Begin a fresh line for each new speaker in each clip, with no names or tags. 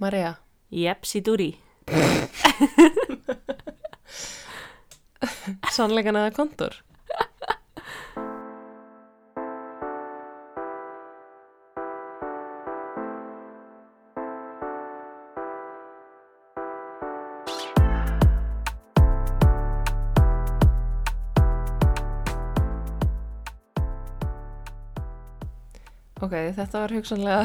Maria.
Jepsi dúri.
Sannleikan eða kontur? Ok, þetta var hugsanlega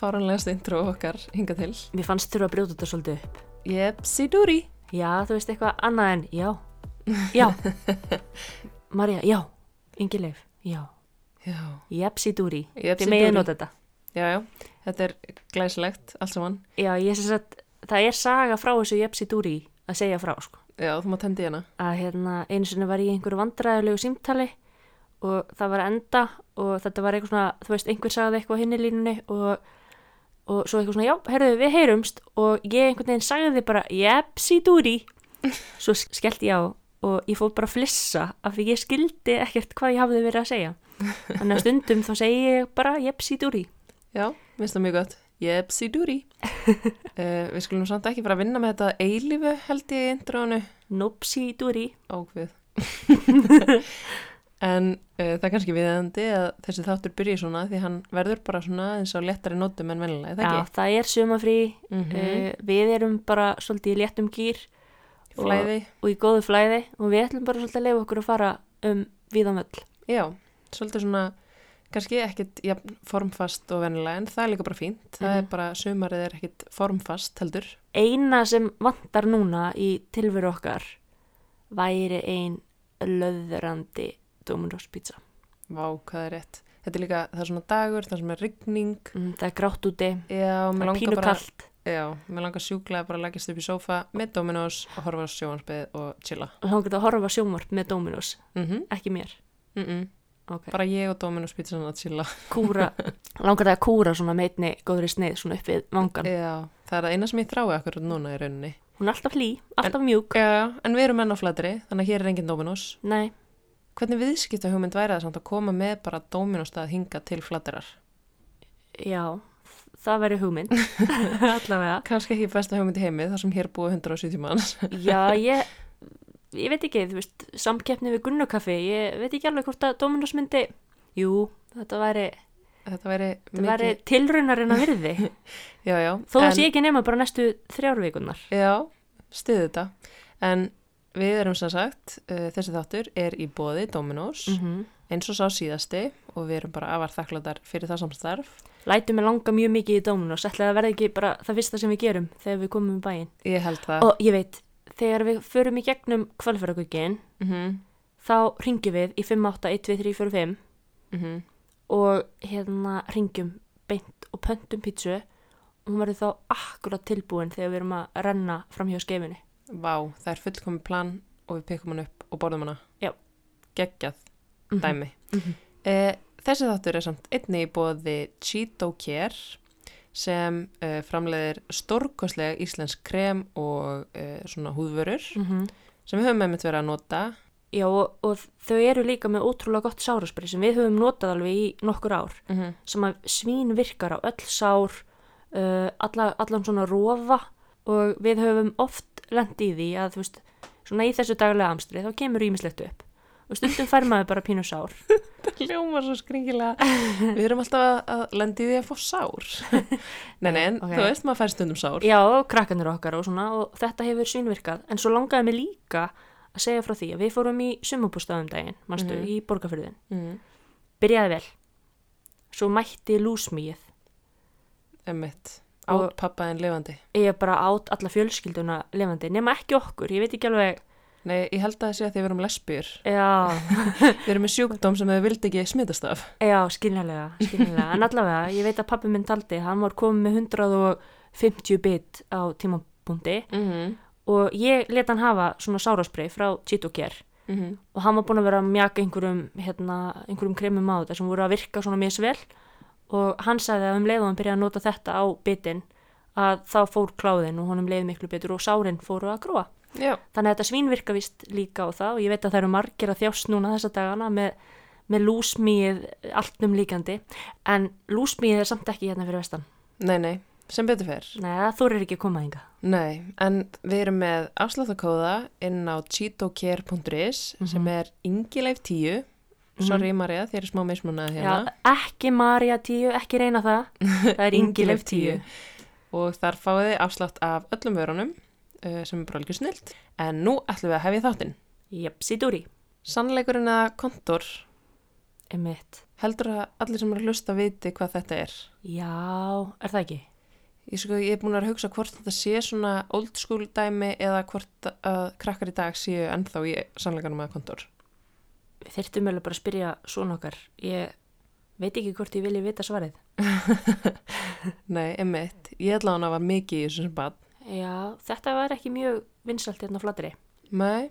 fáranlegast intro okkar hinga til.
Mér fannst þurfa að brjóta þetta svolítið upp.
Jepsi dúri.
Já, þú veist eitthvað annað en já. Já. Marja, já. Ingileif, já.
Já.
Jepsi dúri.
Jepsi
Þið megin
dúri.
nota þetta.
Já, já, þetta er glæsilegt allt saman.
Já, ég syns að það er saga frá þessu Jepsi dúri að segja frá, sko.
Já, þú maður tendi hérna.
Að hérna, einu sinni var ég í einhverju vandræðilegu símtali og það var að enda og þetta var eitthvað svona, þú veist, einhver sagði eitthvað á hinni línunni og, og svo eitthvað svona, já, herðu, við heyrumst og ég einhvern veginn sagði bara, Jepsi dúri. Svo skellt ég á og ég fór bara að flissa af því ég skildi ekkert hvað ég hafði verið að segja. Þannig að stundum þá segi ég bara, Jepsi dúri.
Já, minnst það mjög gott. Jepsi dúri. uh, við skulum samt ekki fara að vinna með þetta eilífu held ég í introinu.
Nopsi dúri.
Ákveð. en uh, það er kannski viðandi að þessi þáttur byrji svona því hann verður bara svona eins og léttari nótum en vennilega, er það
Já,
ekki?
það er sumafrí, mm
Mhm.
við erum bara svolítið í léttum gýr
Í Flæði.
og í góðu flæði og við ætlum bara svolítið að leifa okkur að fara um viðanvöll.
Já, svolítið svona kannski ekkit jafn, formfast og vennilega en það er líka bara fínt. Það er bara sumarið er ekkit formfast heldur.
Eina sem vantar núna í tilveru okkar væri ein löðrandi Dominos pizza.
Vá, hvað er rétt. Þetta er líka, það er svona dagur, það sem er rigning.
Mm, það er grátt úti,
Já, mér
það er
langar
pínu
bara,
kallt.
já, mér langar sjúklega bara að leggast upp í sófa með Dominos og horfa á sjóhansbyð og chilla.
og þá getur að horfa á sjónvarp með Dominos,
Mm
ekki mér.
mm
mhm.
-mm.
Okay.
Bara ég og Dominos pítsan að chilla.
Kúra, langar það að kúra svona meitni góðri sneið svona upp við vangan.
Já, það er það eina sem ég þrái akkur núna í rauninni.
Hún er alltaf hlý, alltaf mjúk.
Já, en við erum enn á flatri, þannig að hér er engin Dominos.
Nei,
Hvernig viðskipta hugmynd væri það samt að koma með bara Dominos að hinga til flatirar?
Já, það væri hugmynd, allavega.
Kanski ekki besta hugmynd í heimi þar sem hér búa 170 manns.
Já, ég, ég veit ekki, þú veist, samkeppni við Gunnukaffi, ég veit ekki alveg hvort að Dominos myndi, jú, þetta væri,
Þetta væri
þetta væri tilraunarinn að virði,
Já, já.
þó
en-
að sé ekki nema bara næstu þrjárvíkunar.
Já, stiði þetta. En við erum sem sagt, uh, þessi þáttur er í bóði Dominos
Mm -hmm.
eins og sá síðasti og við erum bara afar þakkláttar fyrir það samstarf.
Lætu mig langa mjög mikið í Dominos, ætlaði að verða ekki bara það fyrsta sem við gerum þegar við komum í bæinn.
Ég held það.
Og ég veit, þegar við förum í gegnum kvalfjörðarkuggin,
Mm -hmm,
þá ringjum við í 581235
mm -hmm.
og hérna ringjum beint og pöntum pítsu og hún verður þá akkurat tilbúin þegar við erum að renna fram hjá skeifinni.
Vá, það er fullkomi plan og við pekkum hann upp og borðum hana.
Já.
Geggjað
Mhm.
dæmi.
Mhm.
Eh, þessi þáttur er samt einni í bóði Cheeto Care sem uh, framleiðir stórkostlega íslensk krem og uh, svona húðvörur
Mm -hmm.
sem við höfum með mitt verið að nota
Já og, og þau eru líka með ótrúlega gott sáraspray sem við höfum notað alveg í nokkur ár
mm
sem að svín virkar á öll sár, uh, alla, allan svona rofa og við höfum oft lent í því að þú veist, svona í þessu daglega amstri þá kemur ímislegt upp og stundum fær maður bara pínu sár.
Ljómar svo skringilega. Við erum alltaf að- að lendi því að fá sár. Nei, nei, en
Ok.
þú veist maður fær stundum sár.
Já, og krakkanir okkar og svona og þetta hefur svínvirkað, en svo langaði mig líka að segja frá því að við fórum í sumabústaðum daginn, manstu,
Mhm.
í borgarfyrðin
Mm,
byrjaði vel svo mætti lúsmíið
emmitt.
Og-
Átt pappaðin lifandi.
ég bara átt alla fjölskylduna levandi, nema ekki okkur, ég veit ekki alveg
Nei, ég held að það sé að því við erum lesbjur.
já,
Við erum með sjúkdóm sem þau vildi ekki smitast af.
já, skiljanlega skiljanlega, en allavega, ég veit að pappi minn taldi, hann var komið með 150 bit á tímabundi
Mm
og ég let hann hafa svona sárasprey frá Cheeto Care
-hmm.
og hann var búin að vera að mjaka einhverjum, hérna, einhverjum kremum á þetta sem voru að virka svona misvel og hann sagði að um leið og hann byrjaði að nota þetta á bitin að þá fór kláðin og honum leið miklu betur og sárin fóru að gróa.
Já,
Þannig að þetta svínvirka vist líka á það og ég veit að það eru margir að þjást núna þessa dagana með, með lúsmíð allt um líkandi en lúsmíð er samt ekki hérna fyrir vestan.
nei, nei. sem betur fer.
Nei, það þorir ekki að koma þinga.
Nei, en við erum með afsláttakóða inn á cheatocare.is
Mhm.
sem er yngileif 10. Sorry Maria, þér er smá mismunað
Já,
hérna.
ekki Marja 10, ekki reyna það. Það er Ingileif 10.
Og þar fáið þið afslátt af öllum vörunum uh, sem er bara alveg snilt. En nú ætlum við að hefja þáttinn.
Jöp, síðúri.
Sannleikurinn að kontor
Emitt.
heldur að allir sem eru að hlusta viti hvað þetta er.
Já, er það ekki?
Ég, sko, ég er búin að hugsa hvort þetta sé svona old school dæmi eða hvort að krakkar í dag séu ennþá í sannleikunum að kontor.
Við þyrftum alveg bara að spyrja svona okkar. Ég veit ekki hvort ég vilji vita svarið.
Nei, emitt. Ég ætla hann að var mikið í þessum bad.
Já, þetta var ekki mjög vinsalt hérna á flatri.
Nei,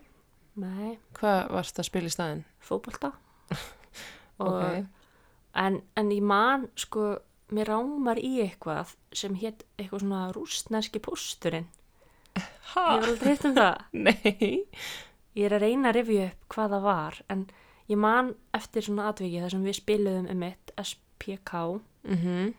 Nei,
hvað varst að spila í staðinn?
fótbolta. Og-
Ok.
En, en ég man, sko, mér rámar í eitthvað sem hétt eitthvað svona rústnæski pósturinn.
Ha?
Ég var aldrei hitt um það.
Nei.
Ég er að reyna að rifja upp hvað það var, en ég man eftir svona atvikið þar sem við spiluðum um eitt SPK.
Mm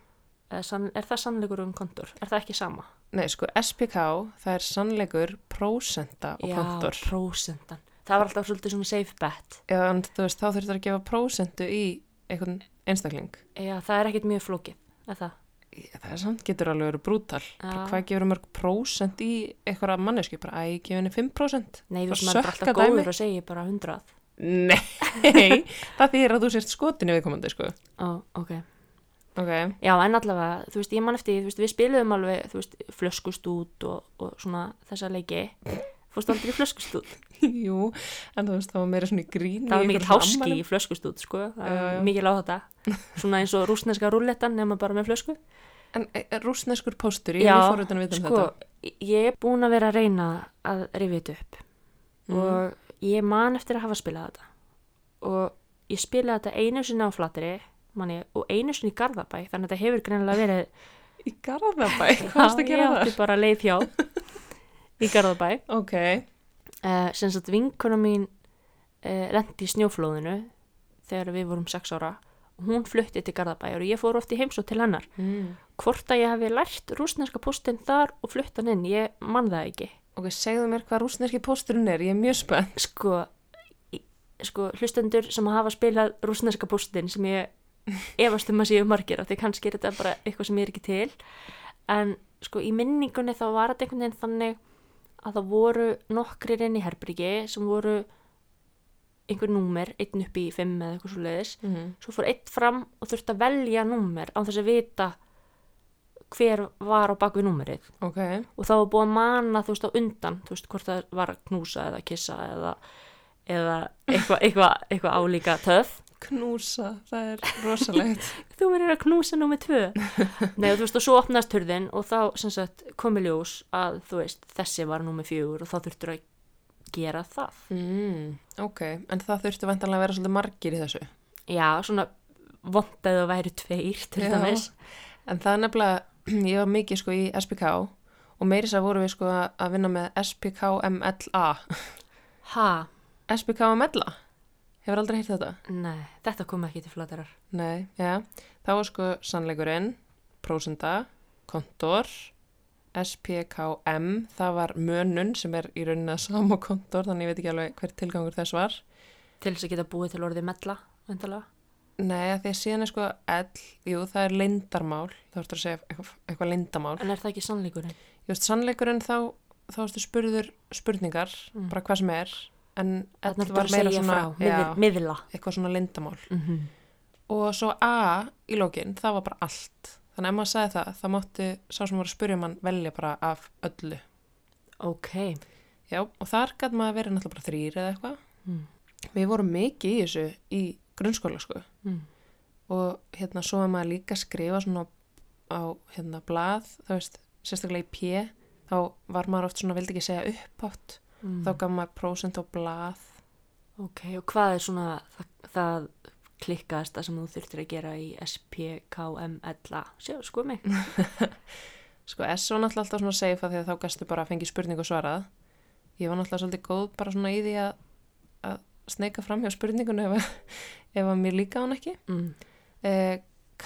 eða sann- Er það sannleikur um kontur? Er það ekki sama?
Nei, sko, SPK, það er sannleikur, prósenta og kontor.
Já, prósentan. Það var alltaf svolítið svona safe bet.
Já, en þú veist, þá þurftur að gefa prósentu í einhvern einstakling.
Já, það er ekkert mjög flókið, er það?
Ég- Það er samt getur alveg verið brútal.
Já.
Hvað gefur mörg prósent í einhverja manneski? Bara, æ, gefur henni 5%?
Nei, þú
Bara
veist, maður er bara
sökka
alltaf góður
dæmi.
og segir bara 100.
Nei, það þýðir að þú sért skotinu viðkomandi, sko.
Ó, ok.
Ok,
Já, en allavega, þú veist, ég man eftir, því, þú veist, við spiluðum alveg, þú veist, flöskustút og, og svona þessa leiki. Fórstu aldrei í flöskustút?
jú, en þú veist, það var meira svona í gríni.
Það var mikil háski í flöskustút, sko. Það
Já, já.
var mikil á þetta. Svona eins og rúsneska rúllettan nema bara með flösku.
En e, rúsneskur póstur, ég er mjög forvitin að vita um
sko,
þetta.
ég er búin að vera að reyna að rifja þetta upp
Mhm.
og ég man eftir að hafa spilað þetta og ég spilaði þetta einu sinni á flatri manni, og einu sinni í Garðabæ þannig að þetta hefur greinilega verið
Í Garðabæ, hvað varst að
Já,
gera
ég
það?
átti bara leið hjá í Garðabæ
Ok,
uh, sem sagt vinkona mín uh, lendi í snjóflóðinu þegar við vorum sex ára og hún flutti til Garðabæ og ég fór oft í heimsótt til hennar
mm.
hvort að ég hafi lært rúsneska póstinn þar og fluttan inn, ég man það ekki
ok, segðu mér hvað rúsneski pósturinn er, ég er mjög spennt.
sko, í- sko hlustendur sem hafa spilað rúsneska bústin sem ég efast um að séu margir af því kannski er þetta bara eitthvað sem ég er ekki til en sko í minningunni þá var þetta einhvern veginn þannig að það voru nokkrir inn í herbyrgi sem voru einhver númer, einn upp í fimm eða eitthvað svo leiðis
Mm.
svo fór einn fram og þurfti að velja númer án þess að vita hver var á bakvið númerið
Ok,
og það var búið að mana þú veist á undan þú veist hvort það var að knúsa eða kissa eða, eða eitthvað eitthva, eitthva álíka töf
knúsa, það er rosalegt.
þú verður að knúsa númer tvö nei og þú veist og svo opnaðist hurðin og þá sem sagt komi ljós að þú veist þessi var númer fjögur og þá þurftur að gera það
mm. Ok, en það þurftu vantanlega að vera svolítið margir í þessu.
já svona vondaði að væri tveir til
Já.
dæmis
En það er nefnilega, ég var mikið sko í SPK og meiris að voru við sko að vinna með SPKMLA.
ha,
SPKMLA? Hefur aldrei heyrt þetta?
nei, þetta kom ekki til flatarar
Nei, já. Það var sko sannleikurinn, prósenda, kontor, SPKM, það var mönun sem er í rauninni að sama og kontor, þannig ég veit ekki alveg hver tilgangur þess var.
til þess að geta búið til orðið mella vendalega
Nei, af því að síðan er sko L, jú, það er lindarmál, þá ertu að segja eitthvað, eitthvað lindarmál.
en er það ekki sannleikurinn?
Jú veist, sannleikurinn þá, þá ertu spurður spurningar, bara hvað sem er, en
Þannig
L
að
var
það
meira
Mm. segja
svona,
frá, miðla, miðla.
já, Mhm. eitthvað svona lindarmál.
Mm -hmm.
Og svo A í lókinn, það var bara allt. Þannig að ef maður sagði það, þá mátti sá sem voru að spyrja mann velja bara af öllu.
Ok,
Já, og þar gæti maður verið náttúrulega bara þrýr eða eitthvað.
Mm.
Við vorum mikið í þessu í grunnskóla, sko.
Mm.
Og hérna, svo er maður líka að skrifa svona á, hérna, blað, þá veist, sérstaklega í P, þá var maður oft svona, vildi ekki segja uppátt.
Mm.
Þá gaf maður prósent á blað.
ok, og hvað er svona það, það klikkaðasta sem þú þurftir að gera í SPKMLA? Sjá, sko mig.
Sko, S var náttúrulega alltaf svona safe að því að þá gæstu bara að fengi spurningu og svarað. Ég var náttúrulega svolítið góð bara svona í því að, að sneika fram hjá spurningunni ef, að- ef að mér líka hann ekki.
Mm.
E, K,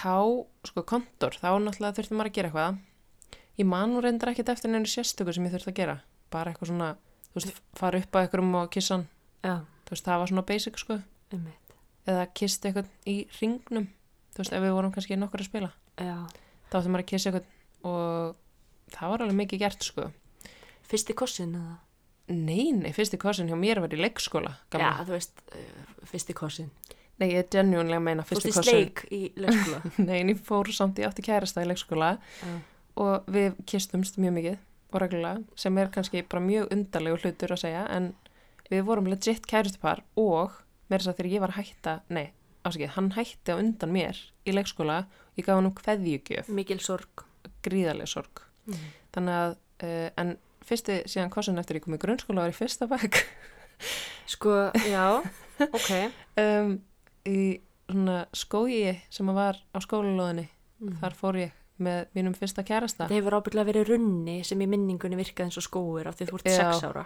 sko, kontor, þá náttúrulega þurfti maður að gera eitthvað. Ég man nú reyndar ekkert eftir neinu sérstöku sem ég þurfti að gera. Bara eitthvað svona, þú veist, fara upp að einhverjum og kissa hann.
já,
Þú veist, það var svona basic, sko.
um
Eða kisti eitthvað í ringnum. Þú veist, ef við vorum kannski nokkur að spila.
já.
Þá áttum maður að kissa eitthvað og það var alveg mikið gert, sko.
Fyrsti kossin eða?
Nei, nei, fyrsti korsin hjá mér var í leikskóla.
Já, þú veist, uh, fyrsti kossin.
Nei, ég er genjúnlega að meina fyrsti
Þú veist, í
korsin.
sleik í leikskóla.
Nei, en ég fór samt, ég átti kærasta í leikskóla
Já.
og við kistumst mjög mikið og reglulega sem er kannski bara mjög undarlegu hlutur að segja en við vorum legit kæristupar og mér þess að segja þegar ég var að hætta, nei, ásakið, hann hætti á undan mér í leikskóla ég gaf hann um kveðjugjöf,
Mikil sorg.
gríðarlega sorg.
Mm.
Þannig að, uh, en fyrsti síðan kosin eftir ég kom í grunnskóla var í fyrsta bakk
Sko, já, ok.
um, í svona skói sem að var á skólalóðinni,
Mm.
þar fór ég með mínum fyrsta kærasta.
Það hefur ábyggilega verið runni sem í minningunni virkaði eins og skóur af því þú ert
Já.
sex ára.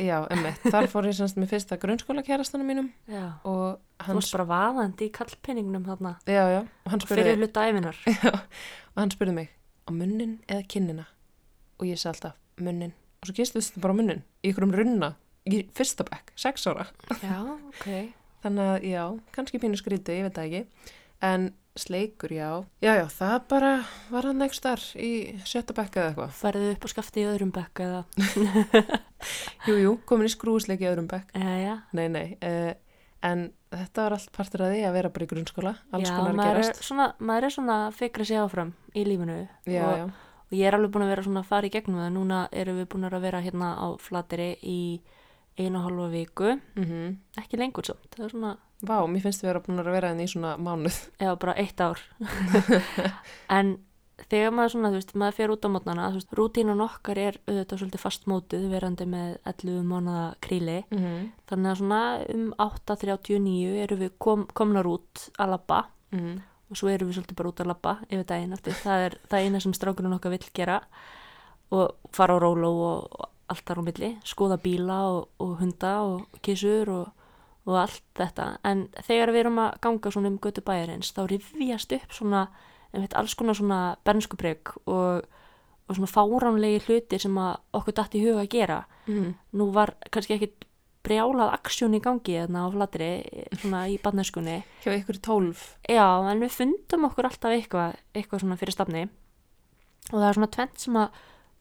Já, emmitt. Þar fór ég semst með fyrsta grunnskóla kærastanum mínum
Já.
og
Þú
hann,
varst bara vaðandi í kallpenningnum þarna.
já, já, og hann, spurði,
Fyrir hluta æfinar.
og hann spurði mig á munnin eða kinnina og ég sagði alltaf munnin og svo gistu þetta bara á munnin í ykkurum runna í fyrsta bekk, sex ára.
já, ok.
Þannig að já, kannski pínu skrítið, ég veit það ekki, en sleikur, já. Já, já, það bara var hann ekki starf í sjötta bekk eða eitthvað.
Færðu upp á skafti í öðrum bekk eða?
Jú, jú, komin í skrúisleik í öðrum bekk.
Já, já.
Nei, nei, uh, en þetta var allt partur af því að vera bara í grunnskóla, alls
já,
konar að
maður
gerast.
Er svona, maður er svona að fikra sig áfram í lífinu
Já,
og,
já.
og ég er alveg búin að vera svona að fara í gegnum það. Núna erum við búin að vera hérna á flateri í einu og halva viku.
Mm
Ekki lengur samt. Það er svona,
Vá, mér finnst við vera búin að vera henni í svona mánuð.
eða bara eitt ár. en þegar maður svona, þú veist, maður fer út á mótnana, þú veist, rútínan okkar er auðvitað svolítið fastmótuð verandi með 11 mánada kríli.
Mm -hmm.
Þannig að svona um 8.39 erum við kom, komnar út að labba.
Mhm,
og svo erum við svolítið bara út að labba yfir daginn eftir. Það er það eina sem strákurinn okkar vill gera og fara á róló og, og allt þar á milli, skoða bíla og, og hunda og kissur og, og allt þetta. En þegar við erum að ganga svona um götu bæjarins þá rifjast upp svona einmitt, alls konar svona bernskubreg og, og svona fáránlegi hluti sem að okkur datt í huga að gera
Mm.
nú var kannski ekkit brjálað aksjón í gangi þarna á flatri svona í barneskunni
Hjá ykkur í tólf.
Já, en við fundum okkur alltaf eitthvað, eitthvað svona fyrir stafni og það er svona tvent sem að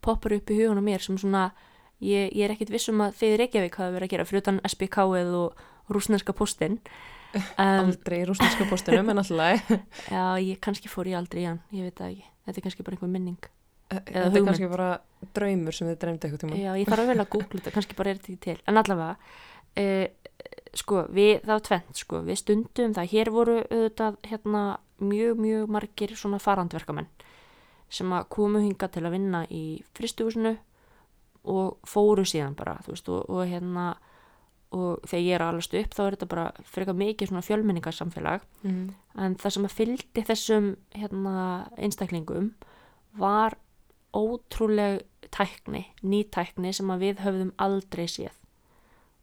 poppar upp í hugunum mér sem svona, ég, ég er ekkit viss um að þið í Reykjavík hafa verið að gera fyrir utan SBK-ið og rúsneska postin. Um,
Aldrei í rústinska postinum, en alltaf.
já, ég kannski fór ég aldrei í hann, ég veit það ekki. Þetta er kannski bara einhver minning.
Þetta er
hugmynd.
kannski bara draumur sem þið dreymdi eitthvað tíma.
Já, ég þarf að vel að googla þetta, kannski bara er þetta ekki til. En allavega, uh, sko, við, það var tvent, sko, við stundum það. Hér voru auðvitað hérna mjög, mjög margir svona farandverkamenn sem að komu hinga til að vinna í fristuhúsinu og fóru síðan bara, þú veist, og, og hérna, og þegar ég er að alastu upp þá er þetta bara frekar mikið svona fjölmenningarsamfélag
Mm.
en það sem að fylgdi þessum hérna, einstaklingum var ótrúleg tækni, ný tækni sem að við höfðum aldrei séð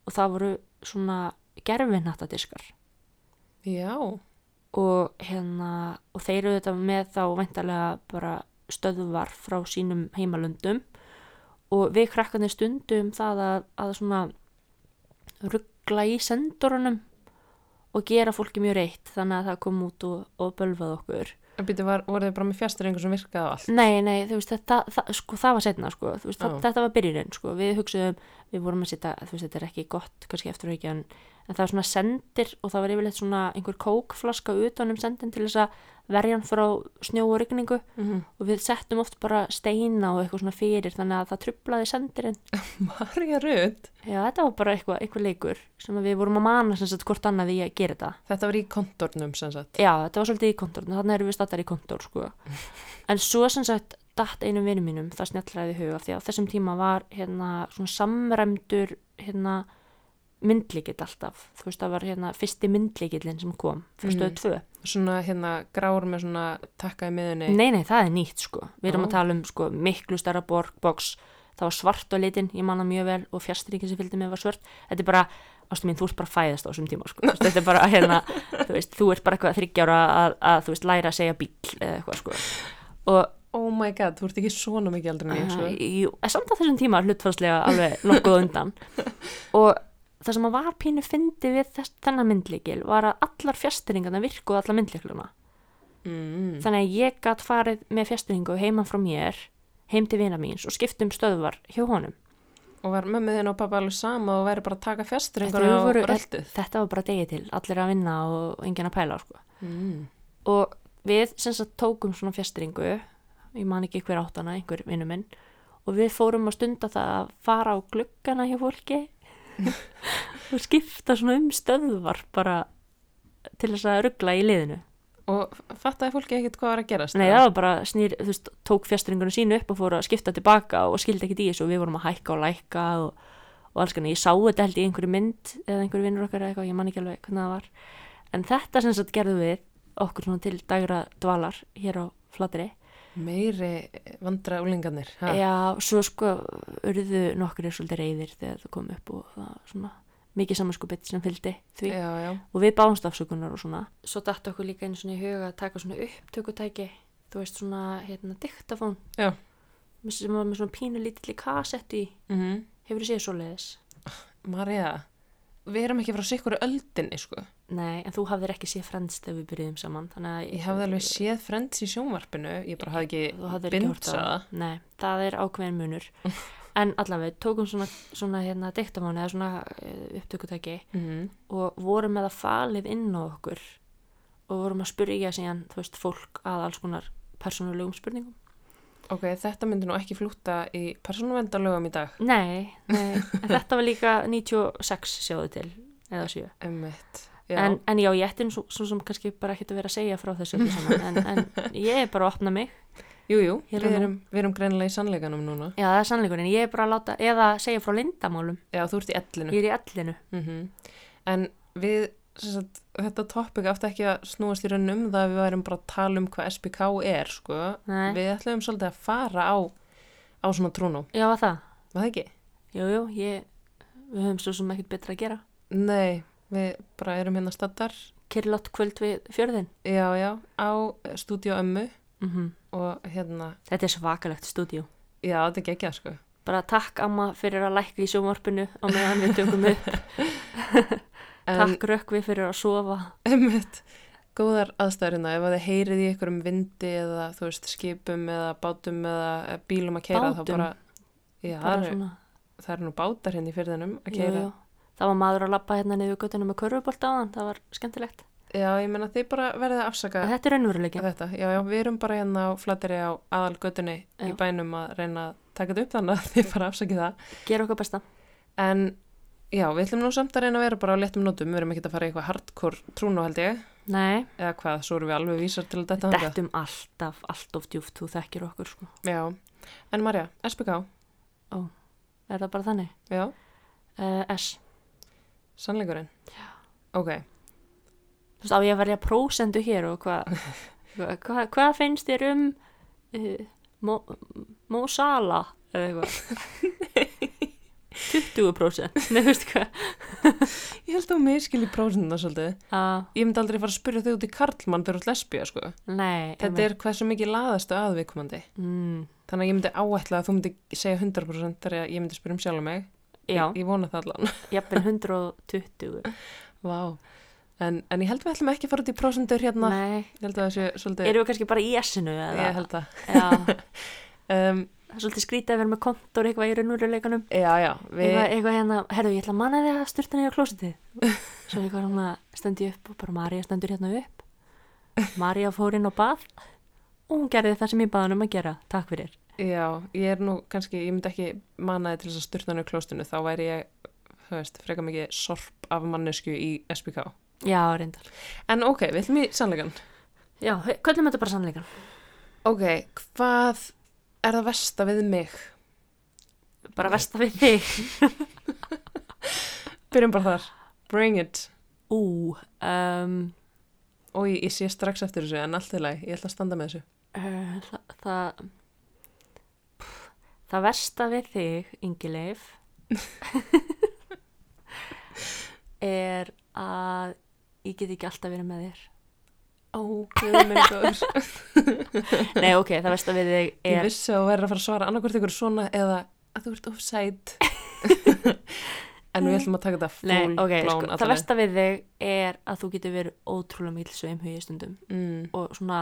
og það voru svona gerfinnattadiskar
Já,
og, hérna, og þeir eru þetta með þá væntalega bara stöðvar frá sínum heimalöndum og við krakkanir stundum það að, að svona ruggla í sendurunum og gera fólki mjög reitt þannig að það kom út og, og bölvað okkur
en býtu var, voru þið bara með fjastrengur sem virkaði á allt.
Nei, nei, þú veist, þetta, það, sko, það var setna, sko, þú veist, það,
Já.
þetta var byrjunin, sko, við hugsuðum, við vorum að setja, þú veist, þetta er ekki gott, kannski eftir ekki, en, en það var svona sendir og það var yfirleitt svona einhver kókflaska utanum sendin til þess að verja hann frá snjó og rigningu
Mm -hmm.
og við settum oft bara steina og eitthvað svona fyrir þannig að það trublaði sendirinn.
Marja Rut,
Já, þetta var bara eitthvað, eitthvað leikur sem að við vorum að mana sem sagt hvort annað í að gera þetta.
þetta var í kontornum sem sagt.
Já, þetta var svolítið í kontorn, þannig erum við stattar í kontor, sko. En svo sem sagt, datt einum vinum mínum, það snjallæði huga, því að á þessum tíma var hérna svona samræmdur hérna myndlíkill alltaf. Þú veist, það var hérna fyrsti myndlíkillin sem kom, frá stöðu tvö.
Svona hérna grár með svona takka í miðunni.
Nei, nei, það er nýtt, sko. Við erum
Já.
að tala um, sko, miklu stærra borg, box, það var svart á litin, ég manna mjög vel, og fjastríkin sem fylgdi með var svört. Þetta er bara, ástu mín, þú ert bara að fæðast á þessum tíma, sko. Þú veist, Þetta er bara, hérna, þú veist, þú ert bara eitthvað þryggjára að, að, þú veist, læra að segja bíl eða eitthvað, sko. Og,
oh my god, þú ert ekki svona mikið aldrei en ég, sko.
Æ,
svo.
Jú, en samt á þessum tíma hlutfarslega alveg nokkuð á undan og það sem að var pínu fyndi við þess, þennan myndlíkil var að allar fjastringarna virkuð allar myndlíkluna
Mm,
þannig að ég gat farið með fjastringu heiman frá mér, heim til vina míns og skiptum stöðvar hjá honum
og var mömmu þinn og pappa alveg sama og væri bara að taka fjastringur
Þetta
á
voru-
röltið.
þetta var bara degi til, allir að vinna og enginn að pæla sko.
Mm.
og við sem sagt tókum svona fjastringu ég man ekki hver áttana, einhver vinnu minn og við fórum að stunda það að fara á gluggana hjá fólki og skipta svona um stöðvar bara til þess að ruggla í liðinu
Og fattaði fólki ekkert hvað var að gerast?
Nei,
eða?
það var bara snýr, þú veist, tók fjastringunum sínu upp og fór að skipta tilbaka og skildi ekkert í þessu og við vorum að hækka og lækka og, og alls kannar, ég sá þetta held í einhverju mynd eða einhverju vinnur okkar eða eitthvað, ég man ekki alveg hvernig það var en þetta sem sagt gerðum við okkur svona til dagra dvalar hér á Flatri
Meiri vandra úlingarnir. ha?
Já, svo sko urðu nokkur svolítið reyðir þegar það kom upp og það var svona mikið samanskupið sem fylgdi því
já, já.
og við báumst afsökunar og svona. Svo datt okkur líka einu svona í huga að taka svona upptökutæki, þú veist svona hérna diktafón
Já.
sem var með svona pínu lítilli kassett í,
Mm
hefur þú séð svo leiðis?
Marja, við erum ekki frá sikkur öldinni, sko.
Nei, en þú hafðir ekki séð frends þegar við byrjuðum saman, þannig að
Ég hafði alveg séð frends í sjónvarpinu, ég bara hafði
þú
ekki
hafðir ekki
bindt
hort á
það.
það Nei, það er ákveðin munur en allavega, tókum svona, svona hérna, diktafón eða svona eh, upptökutæki
Mm.
og vorum með það falið inn á okkur og vorum að spyrja síðan, þú veist, fólk að alls konar persónulegum spurningum
Ok, þetta myndi nú ekki flúta í persónuvendalögum í dag.
Nei, nei, en þetta var líka 96 sjáðu til, eða 7
Emmitt.
en, en já, ég ætti nú svo, svo sem kannski bara ekkert að vera að segja frá þessu öllu saman en, en ég er bara að opna mig
Jú, jú,
Hér
við
og nú.
erum, við erum greinilega í sannleikanum núna.
Já, það er sannleikurinn, ég er bara að láta eða segja frá lindamálum,
Já, þú ert í ellinu.
ég er í ellinu
Mm En við, sem sagt, þetta topic átti ekki að snúast í raun um það að við værum bara að tala um hvað SPK er, sko.
Nei.
Við ætlum svolítið að fara á, á svona trúnum,
Já, var það?
var það ekki?
Jú, jú, ég, við höfum svo sem ekkert betra að gera
Nei, við bara erum hérna staddar,
Kirlott kvöld við fjörðin
já, já, á stúdíu ömmu
mm
Mhm. og hérna,
Þetta er svakalegt stúdíu
já, þetta er geggjað, sko.
bara takk amma fyrir að lækka í sjómarpinu á meðan við tökum upp takk rökkvi fyrir að sofa
Einmitt, góðar aðstæðurina ef að þið heyrið í einhverjum vindi eða þú veist skipum eða bátum eða eh, bílum að keira þá
Bátum?
bara Já,
bara
það eru-
svona,
það eru nú bátar hérna í fyrðinum að
jú,
keira
jú. það var maður að lappa hérna niður göttinu með körfubolt á þann, það var skemmtilegt
Já, ég meina þið bara verðið að afsaka
en þetta er raunveruleikin
þetta Já, já, við erum bara hérna á flatteri á aðalgötunni í
Já.
bænum að reyna að taka þetta upp þannig að þið bara afsakið það
gera okkar besta
En já, við ætlum nú samt að reyna að vera bara á léttum nótum við erum ekkert að fara í eitthvað hardcore trúnu held ég
nei,
eða hvað, svo erum við alveg vísar til þetta
dettum alltaf, allt of djúft þú þekkir okkur sko
Já, en Marja, SPK,
er það bara þannig?
já
Uh, S,
Sannleikurinn? Já. Ok,
þú veist á ég að verja prósendu hér og hvað hva, hva, hvað finnst þér um uh, Mo, Mo Salah eða eitthvað 20% nei, veistu hvað
ég held að hún miskili prósendina svolítið.
Ah,
Ég myndi aldrei fara að spyrja þau út í karlmann þegar þú ert lesbía, sko.
nei,
Þetta er hversu mikið laðastu að viðkomandi.
mm,
Þannig að ég myndi áætla að þú myndi segja 100% þegar ég myndi spyrja um sjálf mig.
Já,
Ég, ég vona það allan.
jafnvel 120
Vá. En, en ég held að við ætlum ekki að fara út í prósendur hérna.
Nei,
Ég held að það sé svolítið...
erum við kannski bara í S-inu eða?
Ég held það.
Já,
Um,
það er svolítið skrítið að vera með kontor eitthvað í raunveruleikanum
já, já. Við...
eitthvað, eitthvað hérna, herru, ég ætla að manna þig að styrta niður á klósitið Svo eitthvað hérna stendi upp og bara Marja stendur hérna upp Marja fór inn á bað og hún gerði það sem ég baði hann um að gera Takk fyrir
Já, ég er nú kannski, ég myndi ekki mannaði til þess að styrna hann í klóstinu. Þá væri ég, þú veist, freka mikið sorp af mannesku í SPK.
Já, reyndar
En ok, við ætlum í sannleikan.
Já, kvöldum þetta bara sannleikan
Ok, hvað er það versta við mig?
Bara versta við þig
Byrjum bara þar. Bring it.
Ú, um,
Og ég, sé strax eftir þessu, en allt í lagi, ég ætla að standa með þessu.
Uh, það, það, Pff, það versta við þig, Ingileif, er að ég get ekki alltaf verið með þér.
ok, minn góður
Nei, ok, það veist að við þig
ég
er
vissi að þú verður að fara að svara annarkvort ykkur svona eða að þú ert of sæt en við ætlum að taka þetta full
Nei, ok,
blown
sko, það
alla leið.
versta við þig er að þú getur verið ótrúlega mýl sveimhugi stundum
mm,
og svona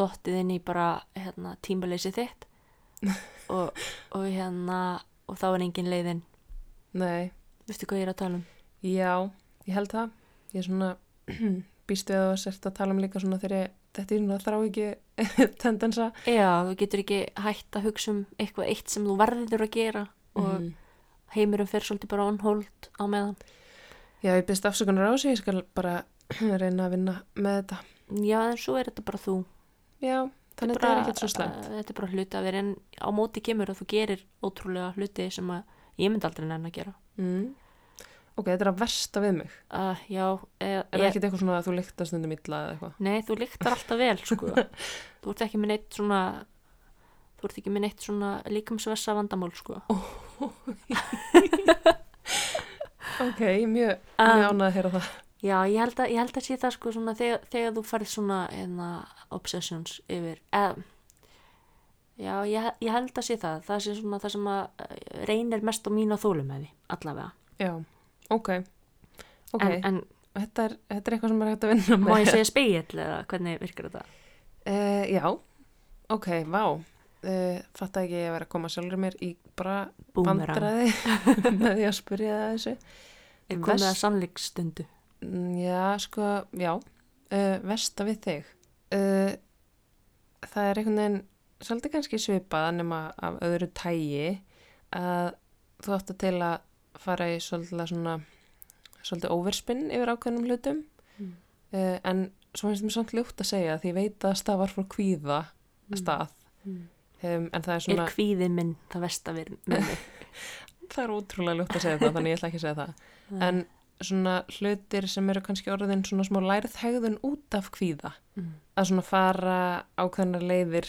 dottið inn í bara hérna, tímaleysi þitt og, og hérna og þá er engin leiðin
nei,
Vistu hvað ég er að tala um?
já, ég held það ég er svona býst við að þú sért að tala um líka svona þegar ég, þetta er svona þrá ekki tendensa
Já, þú getur ekki hægt að hugsa um eitthvað eitt sem þú verður að gera og
Mm.
heimurum fer svolítið bara on hold á meðan.
já, ég byrst afsökunar á sig ég skal bara reyna að vinna með þetta
Já, en svo er þetta bara þú.
já, þannig að þetta er ekkert svo slemt
Þetta er bara hluti að vera en á móti kemur að þú gerir ótrúlega hluti sem að ég myndi aldrei nenn að gera.
mm. ok, þetta er að versta við mig
Uh, já, eh,
er það
ég,
ekkert eitthvað svona að þú lyktast stundum illa eða eitthvað
nei, þú líktar alltaf vel, sko. þú ert ekki með neitt svona, þú ert ekki með neitt svona líkamsvessa vandamál, sko.
ok, ég er mjög,
Um,
mjög ánað að heyra það
Já, ég held að, ég held að sé það sko svona þegar, þegar þú farið svona eðna, obsessions yfir eða, Já, ég, ég held að sé það það sé svona það sem að eh, reynir mest á mína þólum hefði, allavega
Já, ok. Ok,
En,
þetta, er, þetta er eitthvað sem er hægt að vinna
en
með.
má ég segja spegill eða hvernig virkar þetta?
Eh, já, ok, vá. Uh, fatta ekki að ég verið að koma sjálfur mér í bara
Búmerang,
bandræði með því að spyrja það þessu.
er komið að
Vest-
sannleikstundu
Mm, Já, sko, já. Uh, vesta við þig. Uh, það er einhvern veginn svolítið kannski svipað nema af öðru tægi að þú áttu til að fara í svolítið svona svolítið overspinn yfir ákveðnum hlutum
Mm.
uh, en svo finnst mér samt ljótt að segja því ég veit að stafar frá kvíða stað
Mm.
um, en það er
Er
svona,
kvíðið minn það versta við með mig?
það er ótrúlega ljótt að segja það þannig ég ætla ekki að segja það en svona hlutir sem eru kannski orðin svona smá lærðhegðun út af kvíða
Mm.
að svona fara ákveðnar leiðir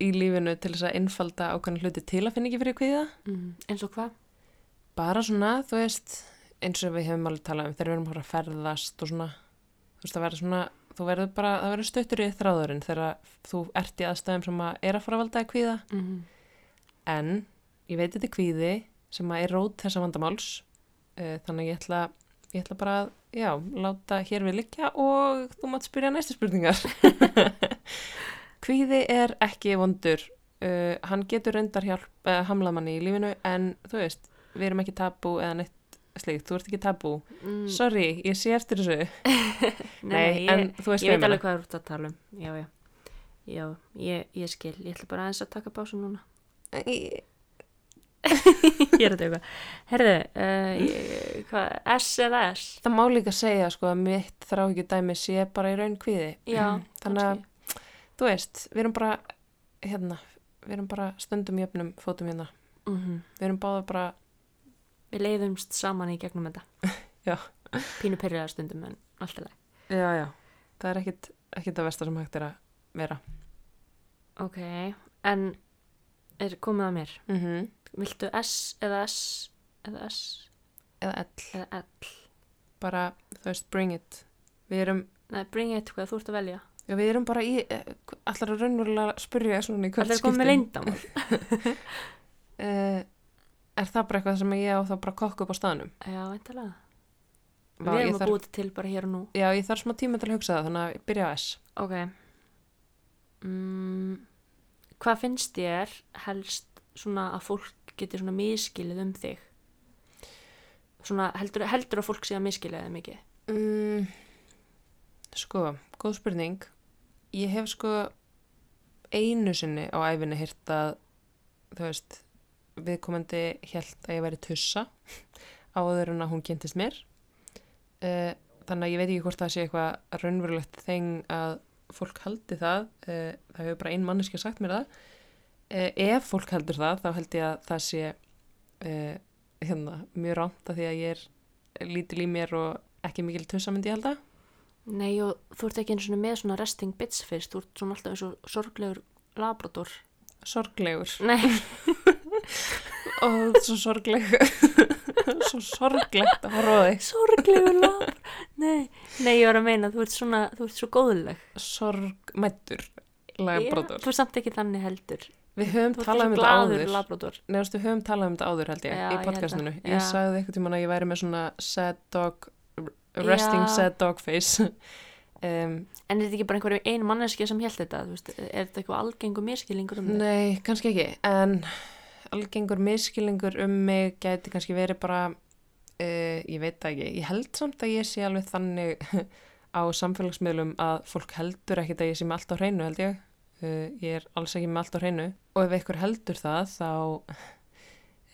í lífinu til þess að innfalda ákveðnar hluti til að finna ekki fyrir kvíða
Mm. Eins og hvað?
bara svona, þú veist eins og við hefum alveg talað um þegar við erum að fara að ferðast og svona þú veist, það verður svona, þú verður bara það verður stöttur í þráðurinn þegar þú ert í aðstæðum sem að er að fara að valda að kvíða
Mm.
en ég veit þetta er kvíði sem að er rót þessa vandamáls eh, þannig að ég ætla ég ætla bara að, já, láta hér við liggja og þú mátt spyrja næstu spurningar kvíði er ekki vondur uh, hann getur reyndar hjálp uh, hamlað manni í lífinu en þú veist, við erum ekki tabú eða neitt slíkt, þú ert ekki tabú
Mm.
sorry, ég sé eftir þessu nei,
Nei, nei, ég,
en þú veist
Ég
við
veit
meina.
alveg hvað þú ert að tala um, já, já, já, ég, ég skil, ég ætla bara aðeins að taka básu núna.
Í-
ég er að tjóka. Herðu, uh, ég- hvað, S eða S?
það má líka segja sko að mitt þrá ekki dæmi sé bara í raun kvíði
Já,
þannig að þú veist, við erum bara hérna, við erum bara stöndum jöfnum fótum hérna,
Mm -hmm.
við erum báða bara
Við leiðumst saman í gegnum þetta.
Já.
Pínu perriðar stundum, en alltaf leið.
já, já, það er ekkit, ekkit að versta sem hægt er að vera
Ok, Mhm. en er komið að mér.
mm -hmm.
Viltu S eða S eða S
eða ell,
eða L?
bara, þú veist, bring it við erum,
Nei, bring it, hvað þú ert að velja.
já, við erum bara í eh, allar að raunverulega spyrja svona í hvert
Það er komið með leyndamál.
Eh, er það bara eitthvað sem ég á þá bara að kokka upp á staðnum
Já, veintalega.
Vá,
Við
ég
erum að
þarf-
búið þetta til bara hér og nú.
já, ég þarf smá tíma til að hugsa það, þannig að ég byrja á S
Ok. Mm, hvað finnst þér helst svona að fólk getur svona miskilið um þig? Svona heldur, heldur að fólk sé að miskilið þig mikið?
Mm, sko, góð spurning. Ég hef sko einu sinni á æfinni hýrt að, þú veist, viðkomandi held að ég væri tussa áður en að hún kynntist mér. Uh, þannig að ég veit ekki hvort það sé eitthvað raunverulegt þeng að fólk haldi það. Uh, það hefur bara ein manneski sagt mér það. Uh, ef fólk heldur það, þá held ég að það sé uh, hérna, mjög rámt að því að ég er lítil í mér og ekki mikil tussa myndi ég halda
Nei og þú ert ekki einu svona með svona resting bitch face, þú ert svona alltaf eins og sorglegur labrador.
sorglegur
Nei,
og svo sorgleg svo sorglegt að horfa á þig
sorglegur labrador. Nei, nei, ég var að meina, þú ert svona, þú ert svo góðleg.
sorgmættur
Já,
labrador.
Þú ert samt ekki þannig heldur.
Við höfum
Þú ert
talað um
svo
þetta
glaður
áður.
labrador.
Nei, veistu, höfum talað um þetta áður held ég
Já, ég
í
held
podcastinu.
það.
Ég,
Já.
sagði eitthvað tímann að ég væri með svona sad dog, resting
Já.
sad dog face. um,
En er þetta ekki bara einhverju ein manneskja sem held þetta, þú veist, er þetta eitthvað algengu miskilingur um þetta?
nei, kannski ekki, en algengur miskilningur um mig gæti kannski verið bara, uh, ég veit það ekki, ég held samt að ég sé alveg þannig á samfélagsmiðlum að fólk heldur ekkit að ég sé með allt á hreinu held ég. Uh, ég er alls ekki með allt á hreinu og ef einhver heldur það þá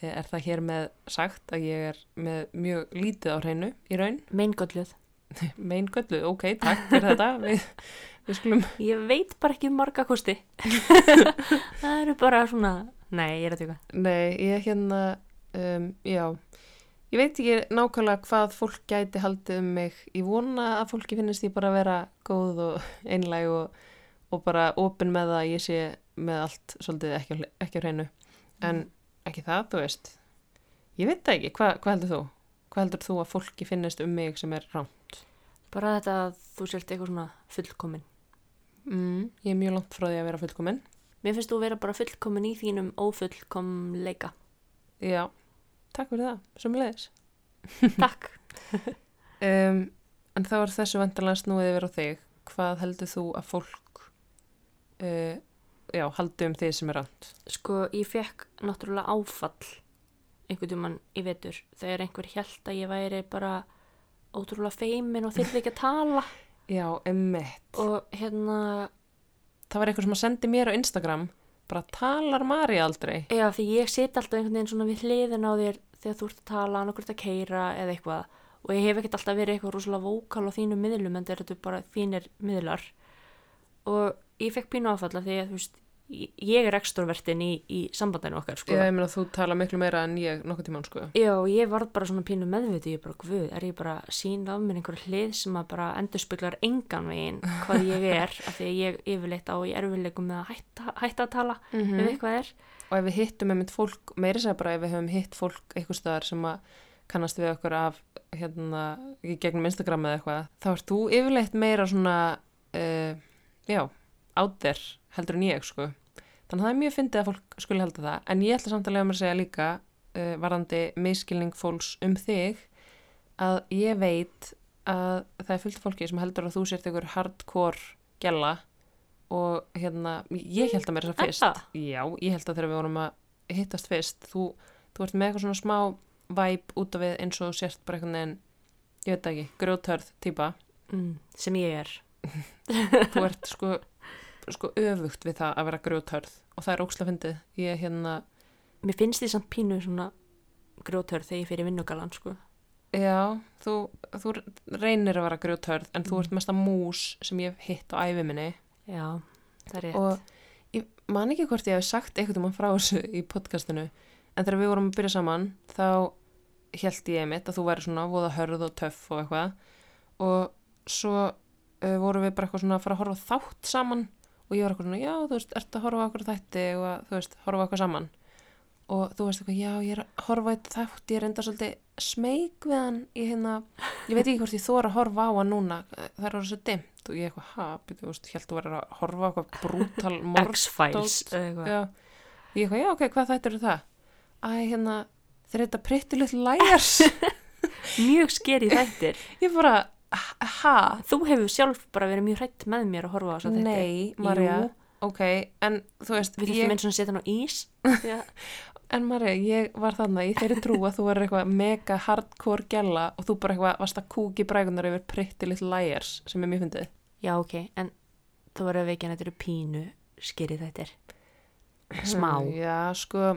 eh, er það hér með sagt að ég er með mjög lítið á hreinu í raun.
Meingölluð.
meingöllu, ok, takk fyrir þetta við, við skulum
Ég veit bara ekki um marga kosti. það eru bara svona, nei, ég er að tjóka.
nei, ég hérna um, já, ég veit ekki nákvæmlega hvað fólk gæti haldið um mig ég vona að fólki finnist ég bara að vera góð og einlæg og, og bara opin með það að ég sé með allt svolítið ekki, á hle- ekki á hreinu en ekki það, þú veist ég veit það ekki, Hva, hvað heldur þú? hvað heldur þú að fólki finnist um mig sem er rán?
Bara þetta að þú sért eitthvað svona fullkomin.
Mm, ég er mjög langt frá því að vera fullkomin
Mér finnst þú vera bara fullkomin í þínum ófullkomleika.
já, takk fyrir það, sömulegis
Takk.
Um, en þá er þessu vendalega snúið yfir á þig. Hvað heldur þú að fólk uh, já, haldi um þig sem er rand?
Sko, ég fekk náttúrulega áfall einhvern tímann í vetur þegar einhver held að ég væri bara ótrúlega feimin og þyrfti ekki að tala
Já, emmitt.
og hérna,
Það var eitthvað sem að sendi mér á Instagram bara talar Mari aldrei.
já því ég sit alltaf einhvern veginn svona við hliðin á þér þegar þú ert að tala, annarkvært að keira eða eitthvað og ég hef ekkert alltaf verið eitthvað rosalega vókal á þínum miðlum en þetta er bara þínir miðlar og ég fekk pínu áfall af því að þú veist, ég- ég er ekstrovertin í, í sambandinu okkar sko
Já, ég meina þú tala miklu meira en ég nokkuð tímann sko.
Já, ég varð bara svona pínu meðviti, ég bara, guð, er ég bara sín af mér einhver hlið sem að bara endurspeglar engan veginn hvað ég er, af því að ég yfirleitt á í erfileikum með að hætta, hætta að tala
Mm.
ef eitthvað er.
Og ef við hittum einmitt fólk, meiri segja bara ef við höfum hitt fólk eitthvað staðar sem að kannast við okkur af hérna í gegnum Instagram eða eitthvað, þá ert þú yfirleitt meira svona, uh, já, out there heldur en ég sko. Þannig að það er mjög fyndið að fólk skuli halda það, en ég ætla samt að lega mér að segja líka uh, varandi miskilning fólks um þig að ég veit að það er fullt af fólki sem heldur að þú sért ykkur hardcore gæla og hérna, ég held að mér þess að
Er
fyrst.
það?
Já, ég held að þegar við vorum að hittast fyrst, þú, þú ert með eitthvað svona smá væp út af við eins og þú sért bara einhvern veginn, ég veit það ekki, grjótörð típa.
Mm, sem ég er.
Þú ert sko, sko öfugt við það að vera grjótörð og það er óksla fyndið. Ég hérna,
Mér finnst því samt pínu svona grótör þegar ég fyrir vinnugalan, sko.
já, þú, þú reynir að vera grjótörð en þú ert mesta mús sem ég hef hitt á æfi minni.
Já, það er rétt.
og ég man ekki hvort ég hef sagt eitthvað um hann frá þessu í podcastinu en þegar við vorum að byrja saman þá held ég einmitt að þú væri svona voða hörð og töff og eitthvað og svo uh, vorum við bara eitthvað svona að fara að horfa á þátt saman og ég var eitthvað svona já þú veist, ertu að horfa á okkur þætti og að, þú veist, horfa á okkur saman og þú veist eitthvað, já ég er að horfa á eitt þátt, ég er enda svolítið smeyk við hann ég, hérna, ég veit ekki hvort ég þóra að horfa á hann núna það er orðið svo dimmt og ég eitthvað, ha, byrju, þú veist, held þú verður að horfa á eitthvað brútal morð
X-Files,
dót.
eða eitthvað.
já, ég eitthvað, já ok, hvað þetta eru það Æ, hérna, þeir þetta pretty little liars
Mjög skeri þættir.
ég bara, ha
Þú hefur sjálf bara verið mjög hrætt með mér að horfa á þess að þetta.
nei, Marja,
Jú.
ok en þú veist,
Við þurfum
ég,
eins og að setja hann á ís. Já.
en Marja, ég var þannig í þeirri trú að þú verður eitthvað mega hardcore gæla og þú bara eitthvað varst að kúki brækunar yfir pretty little liars sem er mjög fyndið
Já, ok, en þú verður að veikja að þetta eru pínu skýrið þetta er. Smá.
Já, sko,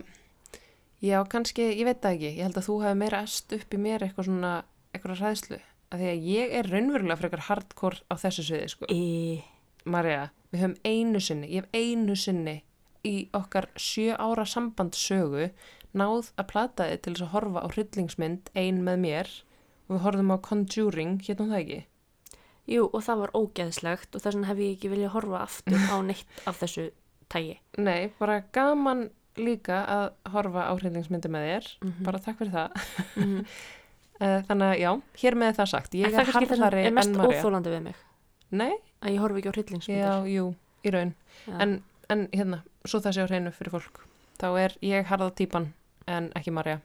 já, kannski, ég veit það ekki. Ég held að þú hefði meira est upp í mér eitthvað svona, eitthvað ræðslu. Af því að ég er raunverulega frekar hardcore á þessu sviði, sko.
Í,
Marja, við höfum einu sinni, ég hef einu sinni í okkar sjö ára sambandssögu náð að plata þið til þess að horfa á hryllingsmynd ein með mér og við horfðum á Conjuring, hérna það ekki?
jú, og það var ógeðslegt og þess vegna hef ég ekki viljað horfa aftur á neitt af þessu tægi.
Nei, bara Mhm. gaman líka að horfa á hryllingsmyndi með þér, bara takk fyrir það. Eh, Þannig að já, hér með er það sagt,
Er
ég
það
er
kannski það sem
harðari
er mest
enn Marja.
óþólandi við mig?
Nei,
Að ég horfi ekki á hryllingsmyndir?
já, jú, í raun.
Já.
En, en hérna, svo það sé á hreinu fyrir fólk. Þá er ég harða típan en ekki Marja.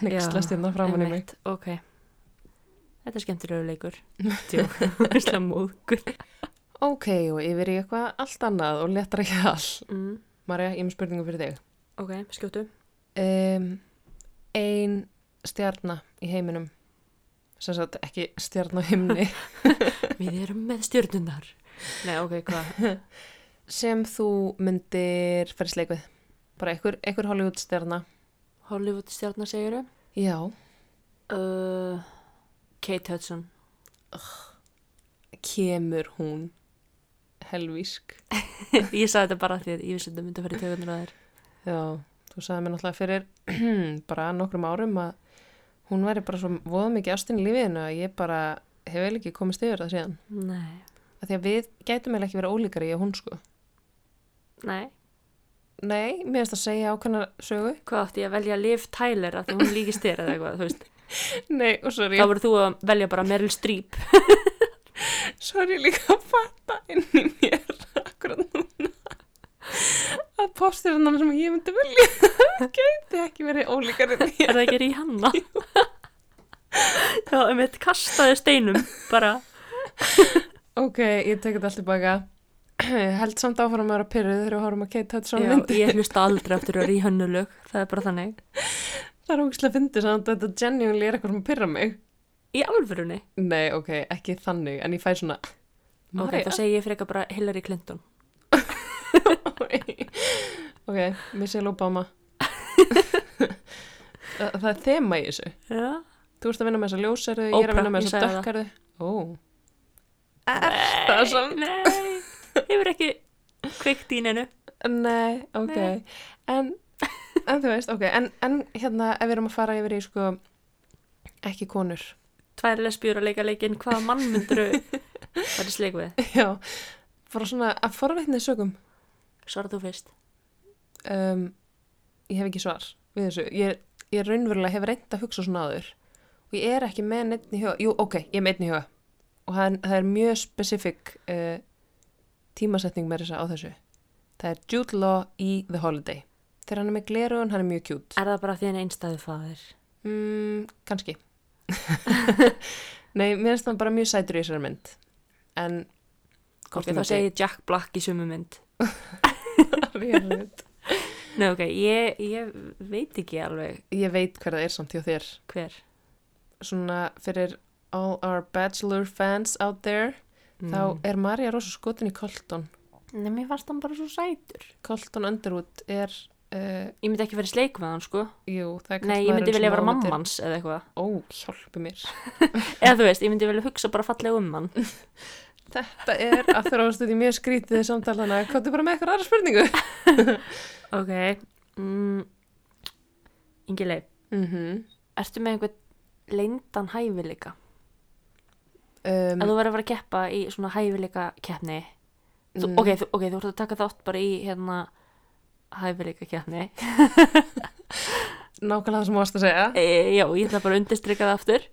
Nikslast
Já,
hérna framan í mig.
einmitt, Ok. Þetta er skemmtilegu leikur. Tjók, vissla móðgur.
Ok, og yfir í eitthvað allt annað og letra ekki all.
Mm,
Marja, ég er með spurningu fyrir þig.
ok, skjóttu.
Um, ein stjarna í heiminum. Sem sagt, ekki stjarna á himni.
Við erum með stjörnunar. Nei, ok, hvað?
sem þú myndir fyrir sleik við. Bara einhver, einhver Hollywood stjarna.
Hollywood stjörnar segiru?
Já,
Uh, Kate Hudson.
kemur hún helvísk.
ég sagði þetta bara af því að ég vissi að þetta myndi að fara í tökunar á þér.
Já, þú sagði mér náttúrulega fyrir bara nokkrum árum að hún væri bara svo voða mikið ástin í lífiðinu að ég bara hef eiginlega ekki komist yfir það síðan.
Nei.
Af því að við gætum eiginlega ekki verið ólíkari ég og hún sko.
Nei.
Nei, mér finnst að segja ákveðna sögu.
Hvað átti ég að velja Liv Tyler af því hún líkist þér eða eitthvað, þú veist.
Nei, og sorry,
Þá voru þú að velja bara Meryl Streep.
sorry líka að fatta inn í mér akkurat núna að postirinn sem ég myndi vilja gæti ekki verið ólíkari en
Er
ég.
það ekki Rihanna? Já, um eitt kastaði steinum, bara.
Ok, ég tek þetta allt tilbaka. Held samt áfram að vera pyrruð þegar við horfum að Kate Hudson
Já,
myndi.
ég hlusta aldrei aftur á Rihannulög, það er bara þannig.
Það er ógislega fyndið samt að þetta genuinely er eitthvað sem pyrra mig.
Í alvörunni.
Nei, ok, ekki þannig, en ég fæ svona...
Ok, þá segi ég frekar bara Hillary Clinton.
María. ok, Michelle Obama. Þa- það er þema í þessu.
Já.
Þú ert að vinna með þessa ljósæru, ég er
Oprah,
að vinna með
ég
þessa
sagði
dökkarðu. Ó. Er það samt?
Nei, hefur ekki kveikt í neinu.
Nei, ok.
Nei.
En, en þú veist, ok, en, en hérna ef við erum að fara yfir í sko ekki konur.
Tvær lesbjur að leika leikinn, hvaða mann myndur þau? Það er sleik við.
Já, bara svona að forveitnið sögum.
Svara þú fyrst.
um, ég hef ekki svar við þessu, ég, ég raunverulega hef reynd að hugsa svona aður og ég er ekki með neitt í huga, jú ok, ég er með neitt í huga og það er, það er mjög spesifik uh, tímasetning með þessa á þessu það er Jude Law í The Holiday þegar hann er með glerugun, hann er mjög kjút
Er það bara því hann er einstæðu faðir?
mm, kannski nei, mér finnst það bara mjög sætur í þessari mynd en
Ok, þá segi ég Jack Black í sumu mynd.
ég
Nei, ok, ég, ég veit ekki alveg
ég veit hver það er samt hjá þér
hver.
svona fyrir all our bachelor fans out there
Mm.
þá er Marja Rósa skotin í Colton
Nei, mér fannst hann bara svo sætur.
Colton Underwood er uh,
Ég myndi ekki verið sleik með hann, sko.
jú, það er
Nei, ég
karlmaðurinn
myndi
sem
velja vera
á
mamma
myndir-
hans eða eitthvað.
ó, hjálpi mér
Eða þú veist, ég myndi velja hugsa bara fallega um hann.
þetta er að þróast út í mjög skrítið samtalana, komdu bara með eitthvað aðra spurningu
Ok. Mm. Ingilei,
mm -hmm.
Mhm. ertu með einhvern leyndan hæfileika?
um,
Ef þú verður að vera að keppa í svona hæfileika keppni þú,
Mm.
ok, þú, ok, þú ert að taka þátt bara í hérna hæfileika keppni
nákvæmlega það sem þú varst að segja
e, Já, ég ætla bara að undirstrika það aftur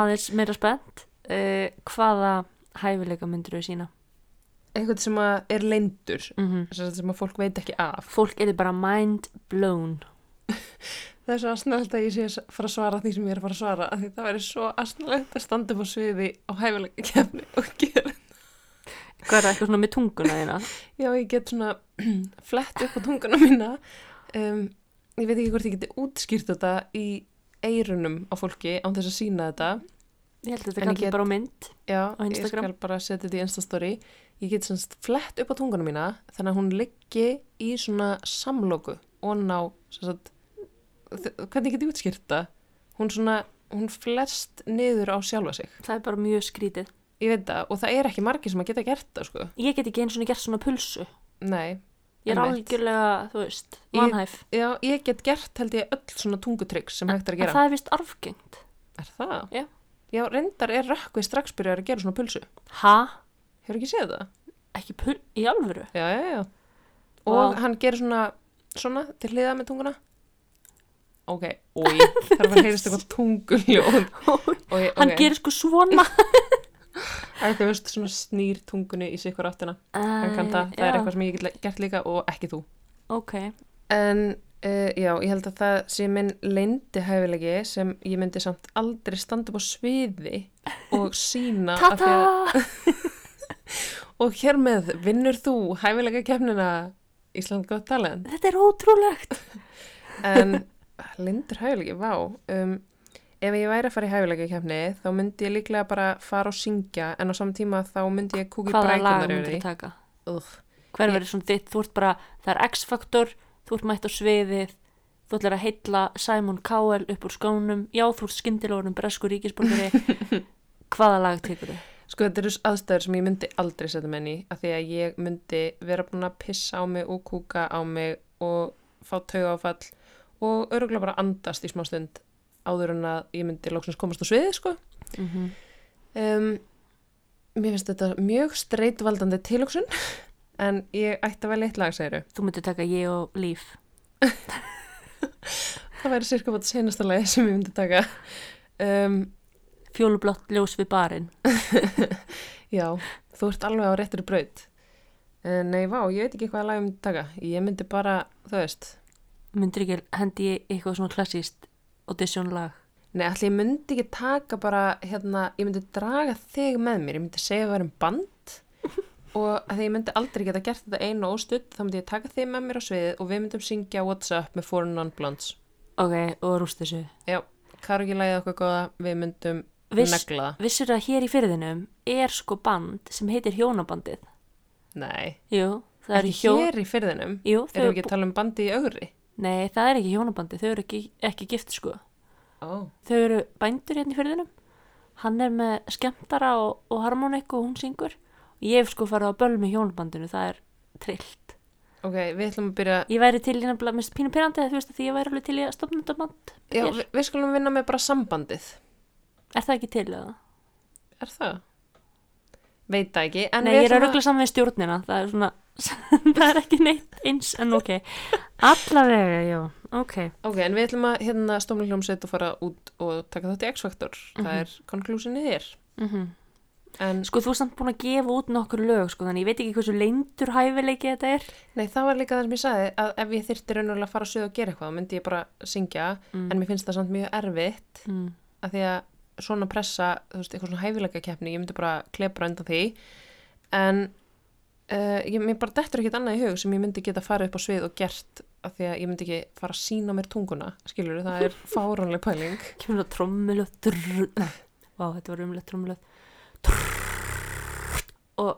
aðeins meira spennt e, Hvaða hæfileika myndir þú sína?
einhvern sem að er leindur
Mm
sem að fólk veit ekki af
Fólk er bara mind blown
það er svo asnælt að ég sé að fara að svara því sem ég er að fara að svara af því það væri svo asnælt að standa upp á sviði á hæfilega kefni og gera
Hvað er það eitthvað svona með tunguna þína?
Já, ég get svona flett upp á tunguna mína. Um, ég veit ekki hvort ég geti útskýrt þetta í eirunum á fólki án þess að sína þetta.
Ég held að
En
þetta
ég
kallir
get-
bara á mynd
Já,
Á
ég
Instagram?
skal bara setja þetta í Instastory. Ég get svona flett upp á tunguna mína þannig að hún liggi í svona samloku og ná, sem sagt, þ- hvernig get ég útskýrt þetta? Hún svona, hún flest niður á sjálfa sig.
Það er bara mjög skrítið
Ég veit það og það er ekki margir sem að geta gert það, sko.
Ég get ekki eins og gert svona pulsu
Nei.
Ég er
Einmitt.
algjörlega, þú veist,
Ég-
vanhæf
Já, ég get gert held ég öll svona tungutryggs sem hægt er að
En
gera.
það er vist arfgengt
Er það?
Já.
Já, reyndar er rökkvið strax byrjar að gera svona pulsu.
Ha?
Hefur ekki séð það?
Ekki pul... Í alvöru?
Já, já, já.
Vá.
Og hann gerir svona, svona, til hliða með tunguna. ok, ói, það er bara heyrist eitthvað tunguljóð. Og ég,
Hann
ok,
gerir sko svona.
að þú veist svona snýr tungunni í sikkur áttina. Hann kann það, það er eitthvað sem ég get gert líka og ekki þú.
Ok,
En uh, já, ég held að það sé minn leyndi hæfilegi sem ég myndi samt aldrei standa upp á sviði og sína af því
tata!
að Og hér með vinnur þú hæfilega kemnina Ísland gott talent.
Þetta er ótrúlegt.
En lindur hæfilegi, vá. Um, ef ég væri að fara í hæfilega kemni þá myndi ég líklega bara fara og syngja en á saman tíma þá myndi ég kúki
Hvaða lag
brækunar
myndir
yfir
þú
því.
taka?
Ugh.
Hver
Ég-
verður svona þitt? Þú ert bara, það er X-faktor, þú ert mætt á sviðið, þú ætlar að heilla Simon Cowell upp úr skónum, já, þú ert skyndilórum bresku ríkisborgari. Hvaða lag tekur þau?
Sko þetta eru aðstæður sem ég myndi aldrei setja menn í af því að ég myndi vera búin að pissa á mig og kúka á mig og fá tauga áfall og öruglega bara andast í smá stund áður en að ég myndi lóksins komast á sviði sko.
Mm
Um, mér finnst þetta mjög streitvaldandi tilöksun en ég ætti að velja eitt lag, segiru.
Þú myndir taka ég og líf.
Það væri sirka bátt senasta lagi sem ég myndi taka. Um,
Fjólublátt ljós við barinn.
já, þú ert alveg á réttri braut. Eh, Nei, vá, ég veit ekki hvaða lag ég myndi taka. Ég myndi bara, þú veist,
Myndir ekki hendi ég eitthvað svona klassíst audition lag.
nei, allir ég myndi ekki taka bara, hérna, ég myndi draga þig með mér. Ég myndi segja að við erum band og að því ég myndi aldrei geta gert þetta einu óstutt, þá myndi ég taka þig með mér á sviðið og við myndum syngja What's Up með Foreign Non-Blondes.
Ok, og rúst þessu.
Já, Kargi lagið okkur góða, við myndum
Viss-
negla það.
Vissur að hér í fyrðinum er sko band sem heitir Hjónabandið.
Nei,
Jú, það eru
ekki
hjón...
hér í fyrðinum,
Jú, þau
erum við ekki að tala um bandi í augri?
Nei, það er ekki hjónabandi, þau eru ekki, ekki gift sko.
Ó,
Þau eru bændur hérna í fyrðinum. Hann er með skemmtara og, og harmonik og hún syngur. Ég hef sko farið á böl með hjónabandinu, það er trillt.
ok, við ætlum að byrja,
Ég væri til í nefnilega, minnst pínu pyrrandi þú veist að því ég væri alveg til í að stopna þetta band.
já,
hér.
við, við skulum vinna með bara sambandið,
Er það ekki til eða?
er það? Veit það ekki, en
Nei,
við
ég er að
ætlum
ruggla saman við stjórnina, það er svona, það er ekki neitt eins en ok. Allavega, já, ok.
ok, en við ætlum að hérna stómlega hljómsveit og fara út og taka þátt í X-faktor,
Mhm.
það er konklusinu þér,
Mm
en
Sko, þú er samt búin að gefa út nokkur lög, sko, þannig ég veit ekki hversu leindur hæfileiki þetta er.
Nei, það var líka það sem ég sagði að ef ég þyrfti raunulega að fara að suða og gera eitthvað, þá myndi ég bara syngja,
Mm.
en mér finnst það samt mjög erfitt
Mm.
að því að svona pressa, þú veist, eitthvað svona hæfilega keppni, ég myndi bara klepra undan því, en uh, ég, mér bara dettur ekkit annað í hug sem ég myndi geta farið upp á svið og gert að því að ég myndi ekki fara að sína mér tunguna, skilur það er fáránleg pæling.
kemur það trommulöð drrrr, nei, vá, þetta var umlöð trommulöð og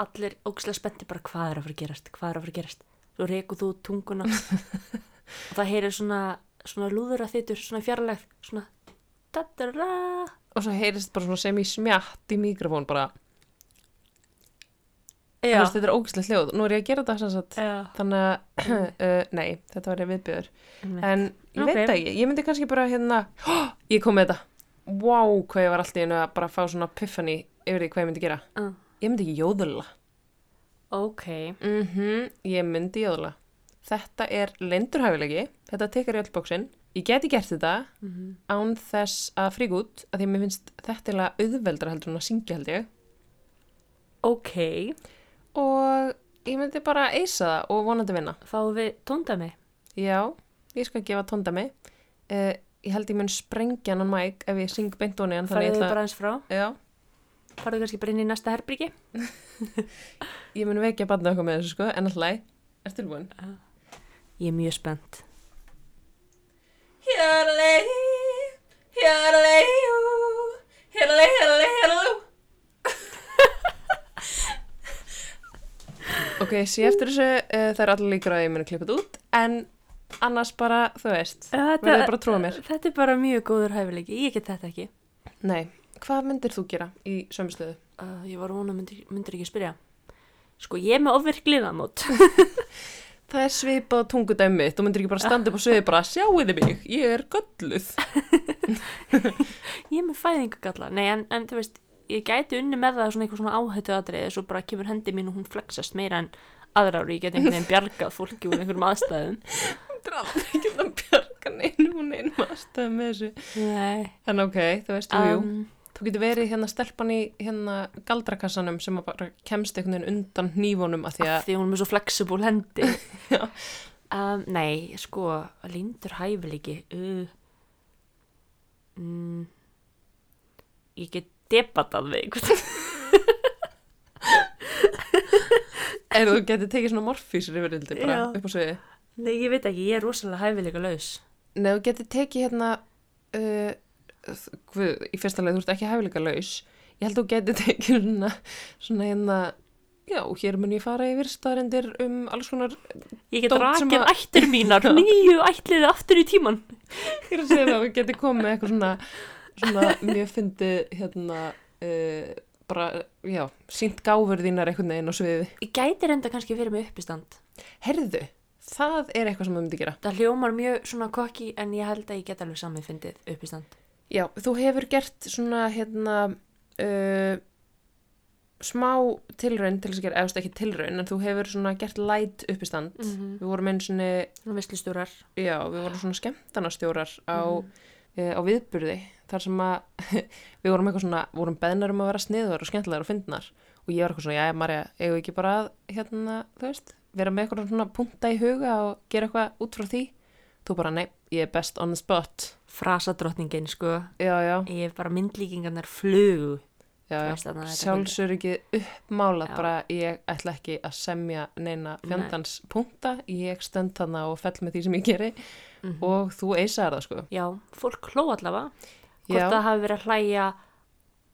allir ógislega spennti bara hvað er að fara að gerast, hvað er að fara að gerast svo reyku þú út tunguna og það heyrir svona, svona lúður að þittur, svona fjarlægð svona dadara
Og svo heyrist bara svona sem ég smjátt í mikrofón bara, þú
já,
veist, þetta er ógæslega hljóð, nú er ég að gera þetta sem sagt,
já
þannig að, uh, nei, þetta var ég viðbjöður.
einmitt.
En ég
Ok.
veit það ekki, ég myndi kannski bara hérna, oh, ég kom með þetta. Vá, hvað ég var alltaf einu að bara fá svona piffani yfir því hvað ég myndi gera.
Uh,
Ég myndi ekki jóðula.
ok,
Mm Ég myndi jóðula. Þetta er lindurhæfilegi, þetta tekar í öll bóksinn. Ég geti gert þetta
Mhm.
án þess að frík út, að því að mér finnst þetta eiginlega auðveldra heldur en að syngja held ég.
ok
Og ég myndi bara eisa það og vonandi vinna.
fáum við tóndami
Já, ég skal gefa tóndami. Uh, ég held ég mun sprengja hann mæk ef ég syng beint onni en þannig ég
farðu
ætla
bara eins frá,
Já,
farðu kannski bara inn í næsta herbyrgi
ég mun vekja barnið okkur með þessu sko, en alltaf, er tilbúin?
ég er mjög spennt
Hjörlei, hjörlei, hjörlei, hjörlei, hjörlei. Ok, sé eftir þessu, uh, það er allir líkur á að ég muni klippa þetta út, en annars bara, þú veist,
Þetta-
verður bara að trúa mér.
Þetta er bara mjög góður hæfileiki, ég get þetta ekki.
Nei, hvað myndir þú gera í sömu stöðu?
Uh, ég var að vona myndir, myndir ekki spyrja. Sko, ég er með ofverkliðan mót.
Það er svipað tungudæmi mitt, þú myndir ekki bara standa upp og sviði bara, sjáuði mig, ég er gölluð.
Ég er með fæðingagalla. Nei, en, en þú veist, ég gæti unni með það svona eitthvað svona áhættu aðriðið, svo bara kemur hendi mín og hún flexast meira en aðra ári. Ég get einhvern veginn bjargað fólki úr einhverjum aðstæðum.
Þetta er aldrei ekki að bjarga engan einum og neinum aðstæða með þessu.
Nei.
En ok, þú veist, jú, jú.
Um,
Þú getur verið hérna stelpan í hérna galdrakassanum sem að bara kemst einhvern veginn undan hnífunum að því
af
að,
því hún er með svo flexible hendi.
já,
Um, nei, sko, lindur hæfileiki. Uh. Mm. Ég get debatað við einhvern.
eða þú getur tekið svona morfísir yfirildi bara
Já.
upp á sviði.
Nei, ég veit ekki, ég er rosalega hæfileika laus.
Nei, þú getur tekið hérna, uh, þ- guð, í fyrsta leið þú ert ekki hæfileika laus. Ég held þú getur tekið svona, svona hérna, já, hér mun ég fara yfir staðarendir um alls konar,
Ég get
Dót sem
rakið
að-
ættir mínar, nýju ættir aftur í tíman.
ég er að segja það, þú getur komið með eitthvað svona, svona mjög fyndið hérna, uh, bara, já, sínt gáfur þínar einhvern veginn á sviði.
Ég gæti reynda kannski fyrir mig uppistand.
Herðu, það er eitthvað sem þú myndi gera.
Það hljómar mjög svona kokki en ég held að ég get alveg samið fyndið uppistand.
Já, þú hefur gert svona hérna uh, smá tilraun til þess að gera, eða þú veist, ekki tilraun en þú hefur svona gert light uppistand
Mhm.
við vorum einu sinni,
Svona visslistúrar.
já, við vorum svona skemmtanastjórar á, uh, á viðburði þar sem að við vorum eitthvað svona, vorum beðnar um að vera sniður og skemmtilegar og fyndnar og ég var eitthvað svona, já, Marja, eigum við ekki bara að hérna, þú veist, vera með eitthvað svona punta í huga og gera eitthvað út frá því þú bara, nei, ég er best on the spot
Frasadrottningin, sko.
já, já,
Ég er bara myndlíkingarnar flugu.
já,
Þú
já.
veist þarna þetta
sjálfsöryggið uppmálað
Já.
bara ég ætla ekki að semja neina
Nei.
fjandans punkta, ég stend þarna og fell með því sem ég geri
Mhm.
og þú eisaðar það sko.
Já, fólk hló allavega. Hvort
Já.
það hafi verið að hlæja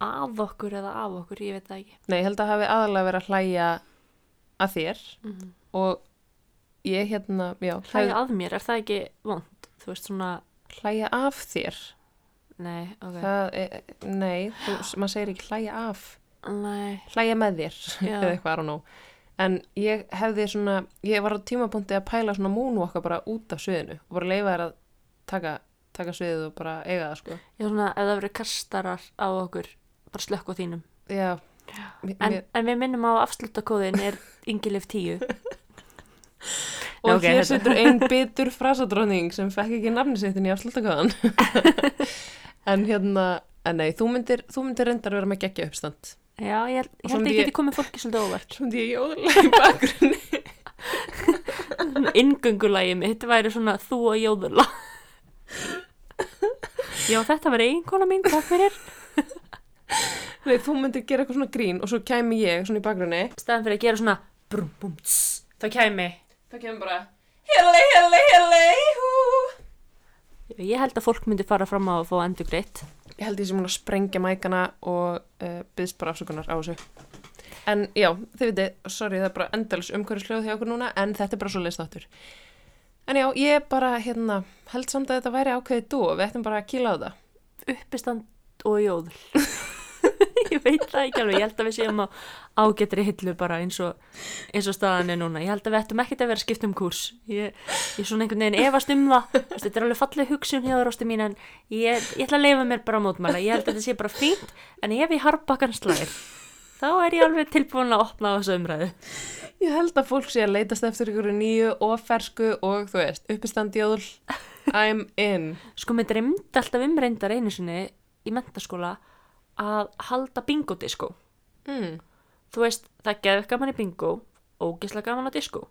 af okkur eða af okkur, ég veit það ekki.
Nei, ég held að hafi aðalega verið að hlæja að þér og ég hérna, já,
Mhm. Hlæja
hlæja,
að mér, er það ekki vond? Þú veist svona,
hlæja af þér.
nei, ok.
Það, er, nei, þú, maður segir ekki hlæja af,
Nei,
hlæja með þér
Já.
eða eitthvað, I don't know. En ég hefði svona, ég var á tímapunkti að pæla svona múnvokka bara út af sviðinu og bara leifa þér að taka, taka sviðið og bara eiga það sko.
ég er svona, ef það verið kastarar á okkur, bara slökk á þínum.
Já, mér,
En,
mér,
en við minnum á að afslutakóðin er yngilif 10.
og
Nei, ok,
hér
þetta-
situr ein bitur frasadróning sem fekk ekki nafni sitt inn í afslutakaðan en hérna en nei, þú myndir, þú myndir reyndar vera með geggja uppstand
Já, ég, held-
Og
ég
svo
held að
myndi
ég
ég-
geti komið fólki svolítið óvart.
svo myndi ég jóðlega í bakgrunni
Inngöngulægi mitt væri svona þú og jóðula. Já, þetta var eiginkona mín, takk fyrir.
nei, þú myndir gera eitthvað svona grín og svo kæmi ég svona í bakgrunni
Stæðan fyrir að gera svona brum bum tss, þá kæmi.
það kemur bara helle, helle, helle, hú
Ég held að fólk myndi fara fram á að fá endur greitt.
ég held ég sem hún að sprengja mækana og uh, byðst bara afsökunar á þessu en já, þið veitir, sorry það er bara endals umhverjusljóð hjá okkur núna en þetta er bara svo leistáttur en já, ég bara hérna held samt að þetta væri ákveðið dú við ættum bara að kýla á það
Uppistand og jóðl. ég veit það ekki alveg, ég held að við séum á ágetri hillu bara eins og, eins og staðan er núna. Ég held að við ættum ekkert að vera skipt um kurs. Ég, ég svona einhvern veginn efast um það. Þú veist, Þetta er alveg falleg hugsun hjá rástu mín en ég, ég ætla að leifa mér bara að mótmæla. Ég held að þetta sé bara fínt en ef ég harpakkan slæðir þá er ég alveg tilbúin að opna á þessu umræðu.
ég held að fólk sé að leitast eftir ykkur nýju og fersku og þú veist, uppistandjóðl I'm in
Sko, mér dreymdi alltaf um reyndar einu sinni í mentaskóla að halda bingo disco.
mm.
Þú veist, það geði gaman í bingo, ógislega gaman á disco.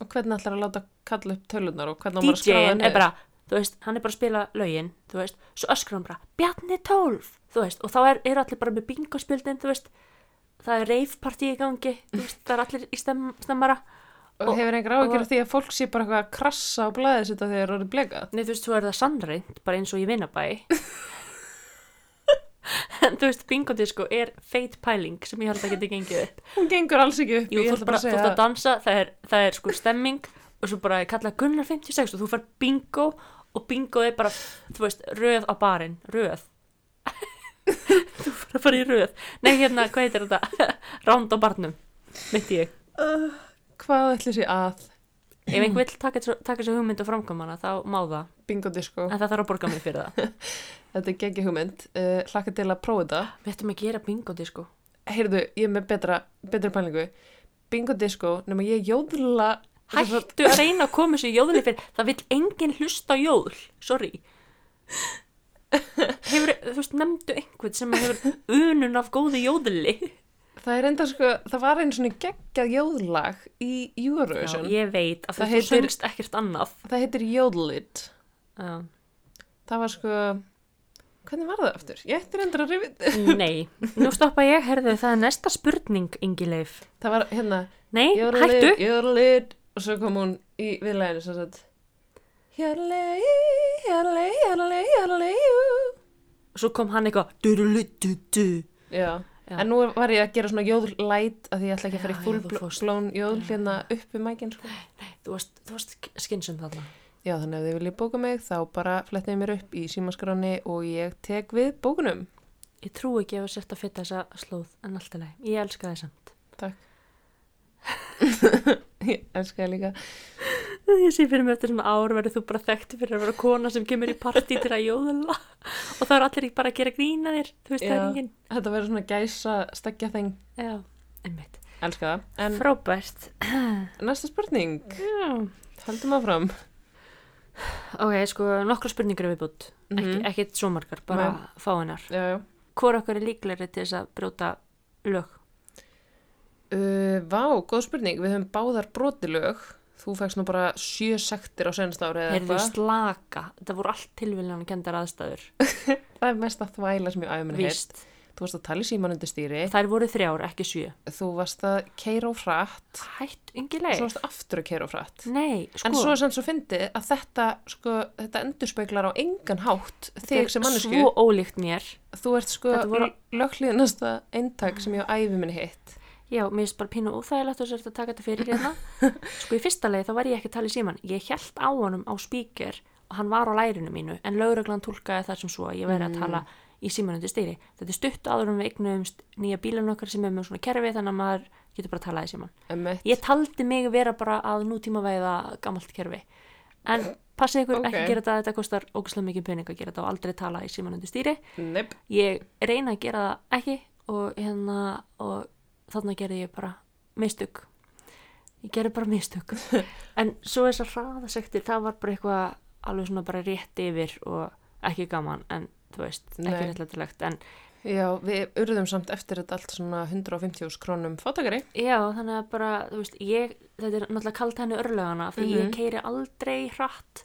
og hvernig ætlar að láta kalla upp tölunar og hvernig á maður að skráða
DJ-in er bara, þú veist, hann er bara að spila lögin, þú veist, svo öskur hann bara, Bjarni 12, þú veist, og þá er, er allir bara með bingo spildin, þú veist, það er reifpartí í gangi, þú veist, það er allir í stem, stemmara.
og hefur einhver áhyggjur
og-
af því að fólk sé bara eitthvað að krassa á blæðið sitt að þeir eru orðið blekað
Nei, þú veist, svo er það sannreint, bara eins og ég vinnabæ. en þú veist, bingo disco er feit pæling sem ég held að geta gengið upp.
Hún gengur alls ekki upp
Jú,
ég
þú ert
ætla
bara, þú ert að
að
dansa, það er, það er sko stemming og svo bara er kallað Gunnar 56 og þú fær bingo og bingo er bara, þú veist, röð á barinn, röð. þú fær að fara í röð. Nei, hérna, hvað heitir þetta? Ránd á barnum, mitt ég.
Hvað ætli sé að
Ef einhver vill taka þessu- taka þessu hugmynd og framkvæma hana, þá má það,
bingo disco?
en það þarf að borga mig fyrir það.
Þetta er geggi hugmynd uh, Hlakka til að prófa þetta
Við ættum að gera bingo disco.
Heyrðu, ég er með betra, betra pælingu Bingo disco, nema ég jóðla
Hættu að reyna að koma þessu jóðli fyrir. Það vil enginn hlusta á jóðl. Sorry. Hefur, þú veist, nefndu einhvern sem hefur unun af góðu jóðli.
Það er enda sko, það var einu svona geggjað jóðlag í
Já,
Eurovision.
ég veit að
Það
það þú
heitir-
söngst ekkert annað.
Það heitir Jódlit.
Já.
Það var sko, hvernig var það aftur? Ég ætti reyndar að rifið.
Mm, Nei, nú stoppa ég, herðu, það er næsta spurning, Ingileif.
Það var hérna,
Nei,
Jódlit,
hættu.
Jódlit og svo kom hún í viðlæðinu svo sett. Jódlit, Jódlit, Jódlit, Jódlit, Jódlit.
Svo kom hann eitthvað, durulu, du, du.
Já.
Já.
En nú var ég að gera svona jóðlæt að því ég ætla ekki að fara
Já,
í
já, þú fórst.
fullblón jóðl hérna upp um mækinn sko.
Þú varst, þú varst skynsum þarna.
Já, þannig að ef þið viljið bóka mig þá bara flettiði mér upp í símaskráni og ég tek við bókunum.
Ég trú ekki ef að sérta að fitta þessa slóð, en alltaf leið. Ég elska það samt.
Takk. ég elska það líka.
Ég sé fyrir mig eftir svona ár verður þú bara þekkt fyrir að vera kona sem kemur í partí til að jóðla og það er allir bara að gera grína þér, þú veist það er
Já.
enginn.
Þetta verður svona gæsa stekja þeng.
Já, einmitt.
Elska það. En
Frábært.
næsta spurning.
Já.
Haldum áfram.
Ok, sko nokkra spurningar er viðbútt, mm
Mhm.
ekki, ekkit svo margar, bara
Nei.
fá hennar.
Já, já.
Hvor okkar er líklegri til þess að brjóta lög?
Uh, vá, góð spurning. Við höfum báðar brotilög. Þú fækst nú bara sjö sektir á senast ári eða
Heyrðu
eitthvað.
slaka, þetta voru allt tilviljan kendar aðstæður,
Það er mest að þvæla sem ég æfum henni heilt.
víst.
Þú varst að tala í síman undir stýri.
Þær voru þrjár, ekki sjö.
Þú varst að keira og frætt.
Hætt,
Svo
yngileg.
varst aftur að keira og frætt.
Nei, sko.
En svo er samt svo fyndið að þetta, sko, þetta endurspeglar á engan hátt þig sem mannesku.
Svo ólíkt mér.
Þú ert sko
Þetta voru-
lögklíðnasta eintak sem ég á æfi minni hitt.
Já, mér finnst bara pínu óþægilegt og sérst að taka þetta fyrir hérna. Sko í fyrsta leið þá var ég ekki að tala í síman. Ég held á honum á spíker og hann var á lærinu mínu en lögreglan tólkaði það sem svo að ég væri að tala í símanundi stýri. Þetta er stutt áður um við eignuðumst nýja bílan okkar sem er með svona kerfi þannig að maður getur bara að tala í síman.
Emmett.
Ég taldi mig vera bara að nútíma veiða gamalt kerfi. En passið ykkur
Ok.
ekki gera þetta, þetta kostar ógustlega mikið pening að gera þetta og aldrei tala í símanundi stýri
Nepp.
ég reyna að gera það ekki og hérna og þarna gerði ég bara mistök ég gerði bara mistök en svo þessar hraðasektir það var bara eitthvað alveg svona bara rétt yfir og ekki gaman en þú veist, ekki
Nei.
réttlætilegt en
Já, við urðum samt eftir þetta allt svona 150 krónum fátakari.
já, þannig að bara, þú veist, ég þetta er náttúrulega kalt henni örlögana því
Mhm.
ég keiri aldrei hratt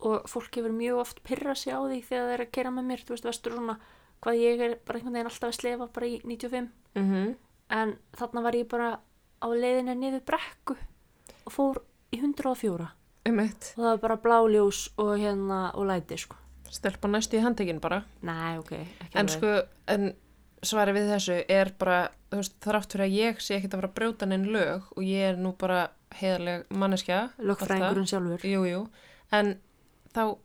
og fólk hefur mjög oft pyrra sig á því þegar það er að keira með mér, þú veist, vestur svona hvað ég er bara einhvern veginn alltaf að slefa bara í 95
Mm -hmm.
en þarna var ég bara á leiðinu niður brekku og fór í 104 og
Emmett.
það var bara bláljós og hérna og læti sko
Stelpa næstu í handtekinn bara.
Nei, ok, ekki
En
alveg.
sko, en svari við þessu er bara, þú veist, þrátt fyrir að ég sé ekkert að fara að brjóta neinn lög og ég er nú bara heiðarleg manneskja. allt
lögfræðingurinn
það.
sjálfur
Jú, jú. En þá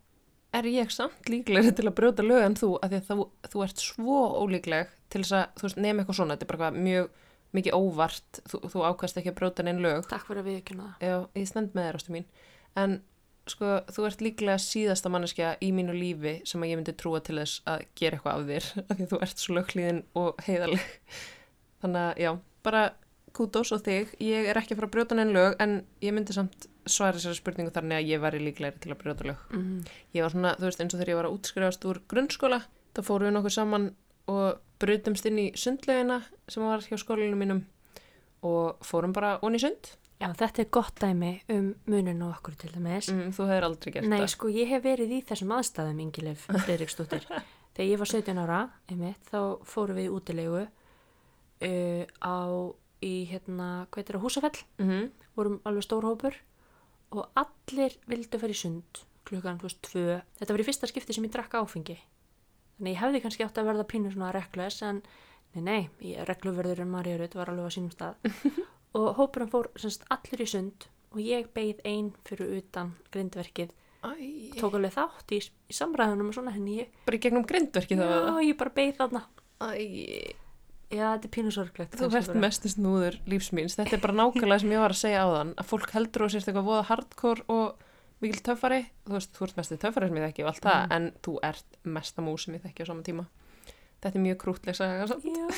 er ég samt líklegri til að brjóta lög en þú af því að þú, þú ert svo ólíkleg til þess að, þú veist, nefn eitthvað svona, þetta er bara hvað mjög mikið óvart, þú, þú ákast ekki að brjóta neinn lög
Takk fyrir að við ekki það
Já, ég stend með þér ástu mín. En sko, þú ert líklega síðasta manneskja í mínu lífi sem að ég myndi trúa til þess að gera eitthvað af þér. Af því að þú ert svo lögklíðin og heiðaleg. Þannig að já, bara kútos og þig. Ég er ekki að fara að brjóta neinn lög en ég myndi samt svara þessari spurningu þannig að ég væri líklegri til að brjóta lög.
mm.
Ég var svona, þú veist, eins og þegar ég var að útskrifast úr grunnskóla, þá fórum við nokkuð saman og brutumst inn í sundlegina sem var hjá skólinu mínum og fórum bara onni sund.
Já, þetta er gott dæmi um munin og okkur til dæmis
Mm, þú hefur aldrei gert
Nei,
það.
sko, ég hef verið í þessum aðstæðum Ingilif Fredriksdóttir. Þegar ég var 17 ára, einmitt, þá fórum við í útilegu uh, á, í hérna, hvað heitir það, húsafell?
Mm
vorum alveg stór hópur og allir vildu fara í sund klukkan pluss tvö. Þetta var í fyrsta skipti sem ég drakk áfengi. Þannig ég hefði kannski átt að verða pínu svona reglus en nei, nei, ég regluverður en Marja Rut var alveg á sínum stað. og hópurinn fór semst allir í sund og ég beigð ein fyrir utan grindverkið.
Æ,
Tók alveg þátt í, í samræðunum og svona henni ég,
bara í gegnum grindverki það var
já,
það.
ég bara beigð þarna.
Æ,
Já, þetta er pínu sorglegt.
þú
kannski
verðt
bara.
mestu snúður lífsmýns. Þetta er bara nákvæmlega sem ég var að segja á þann, að fólk heldur og sérst eitthvað voða hardcore og mikil töffari. Þú veist, þú ert mestu töffari sem ég þekki og allt það,
Mm.
en þú ert mesta mús sem ég þekki á saman tíma. Þetta er mjög krútleg saga. samt.
Já,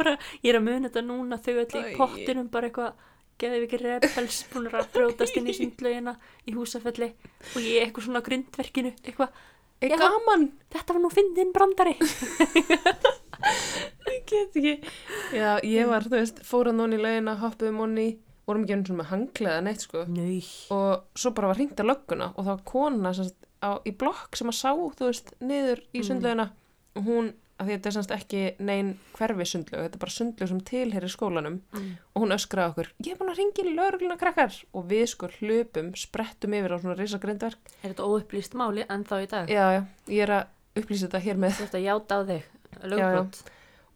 bara, ég er að muna þetta núna þau öll í
Æ.
pottinum bara eitthvað geðveikir rebels búinir að brjótast inn í sundlaugina í húsafelli og ég eitthvað svona á grindverkinu eitthvað,
Er
Já.
gaman?
þetta var nú fyndin brandari
Ég get ekki. Já, ég var, þú veist, fór hann onni í laugina, hoppuðum onni, vorum ekki einu svona með hanglega neitt, sko.
Nei
Og svo bara var hringt að lögguna og það var kona sem sagt, á, í blokk sem að sá, þú veist, niður í
Mm.
sundlaugina og hún, að því þetta er semst ekki nein hverfi sundlaug, þetta er bara sundlaug sem tilherir skólanum
Mm.
og hún öskraði okkur, ég er búin að ringi í laurugluna krakkar og við sko hlupum, sprettum yfir á svona risagrindverk.
Er þetta óupplýst máli en þá í dag?
Já, já, ég er að upplýsa þetta hér með
Þú ert að játa á þig,
lögbrot.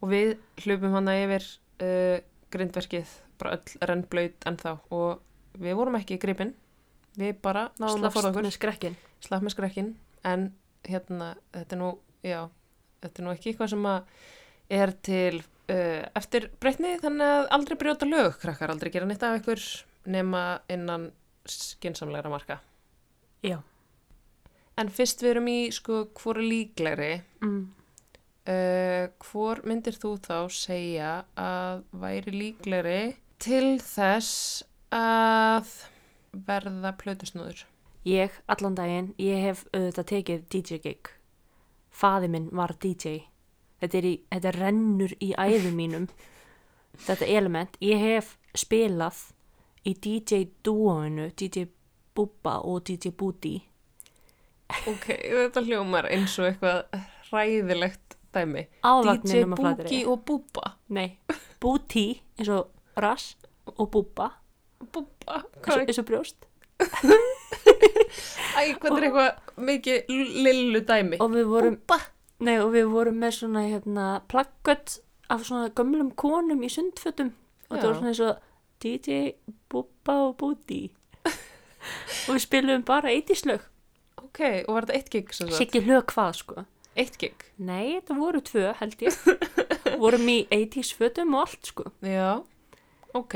og við hlupum hana yfir uh, grindverkið, bara öll rennblöyt ennþá og við vorum ekki gripin, við bara náðum að forða
slafst
okkur,
með skrekkin.
slapp með skrekkin en hérna, þetta er nú já, þetta er nú ekki eitthvað sem að er til uh, eftir breytni þannig að aldrei brjóta lög krakkar, aldrei gera neitt af ykkur nema innan skinsamlegra marka
Já.
en fyrst við erum í sko hvora líklegri
Mm.
Uh, hvor myndir þú þá segja að væri líklegri til þess að verða plötusnúður?
Ég, allan daginn, ég hef auðvitað tekið DJ gig. Faði minn var DJ. Þetta, er í, þetta rennur í æðum mínum. þetta element. Ég hef spilað í DJ duoinu, DJ Bubba og DJ Booty.
Ok, þetta hljómar eins og eitthvað ræðilegt dæmi.
Á
DJ
vagninum að
Boogie
flatri.
og Búba.
Nei, Booty, eins og rass og Bubba,
Búba,
eins og,
hvað er,
eins og brjóst.
æ, hvað er eitthvað mikið lillu dæmi?
Og við vorum
Búba.
Nei og við vorum með svona hérna plakkött af svona gömlum konum í sundfötum og
Já.
það var svona eins og DJ Bubba og Booty og við spilum bara eittíslög
Ok, og var þetta eitt gig sem sagt?
Siggi lög hvað sko
Eitt gig?
Nei þetta voru tvö held ég vorum í eittísfötum og allt sko
Já, ok.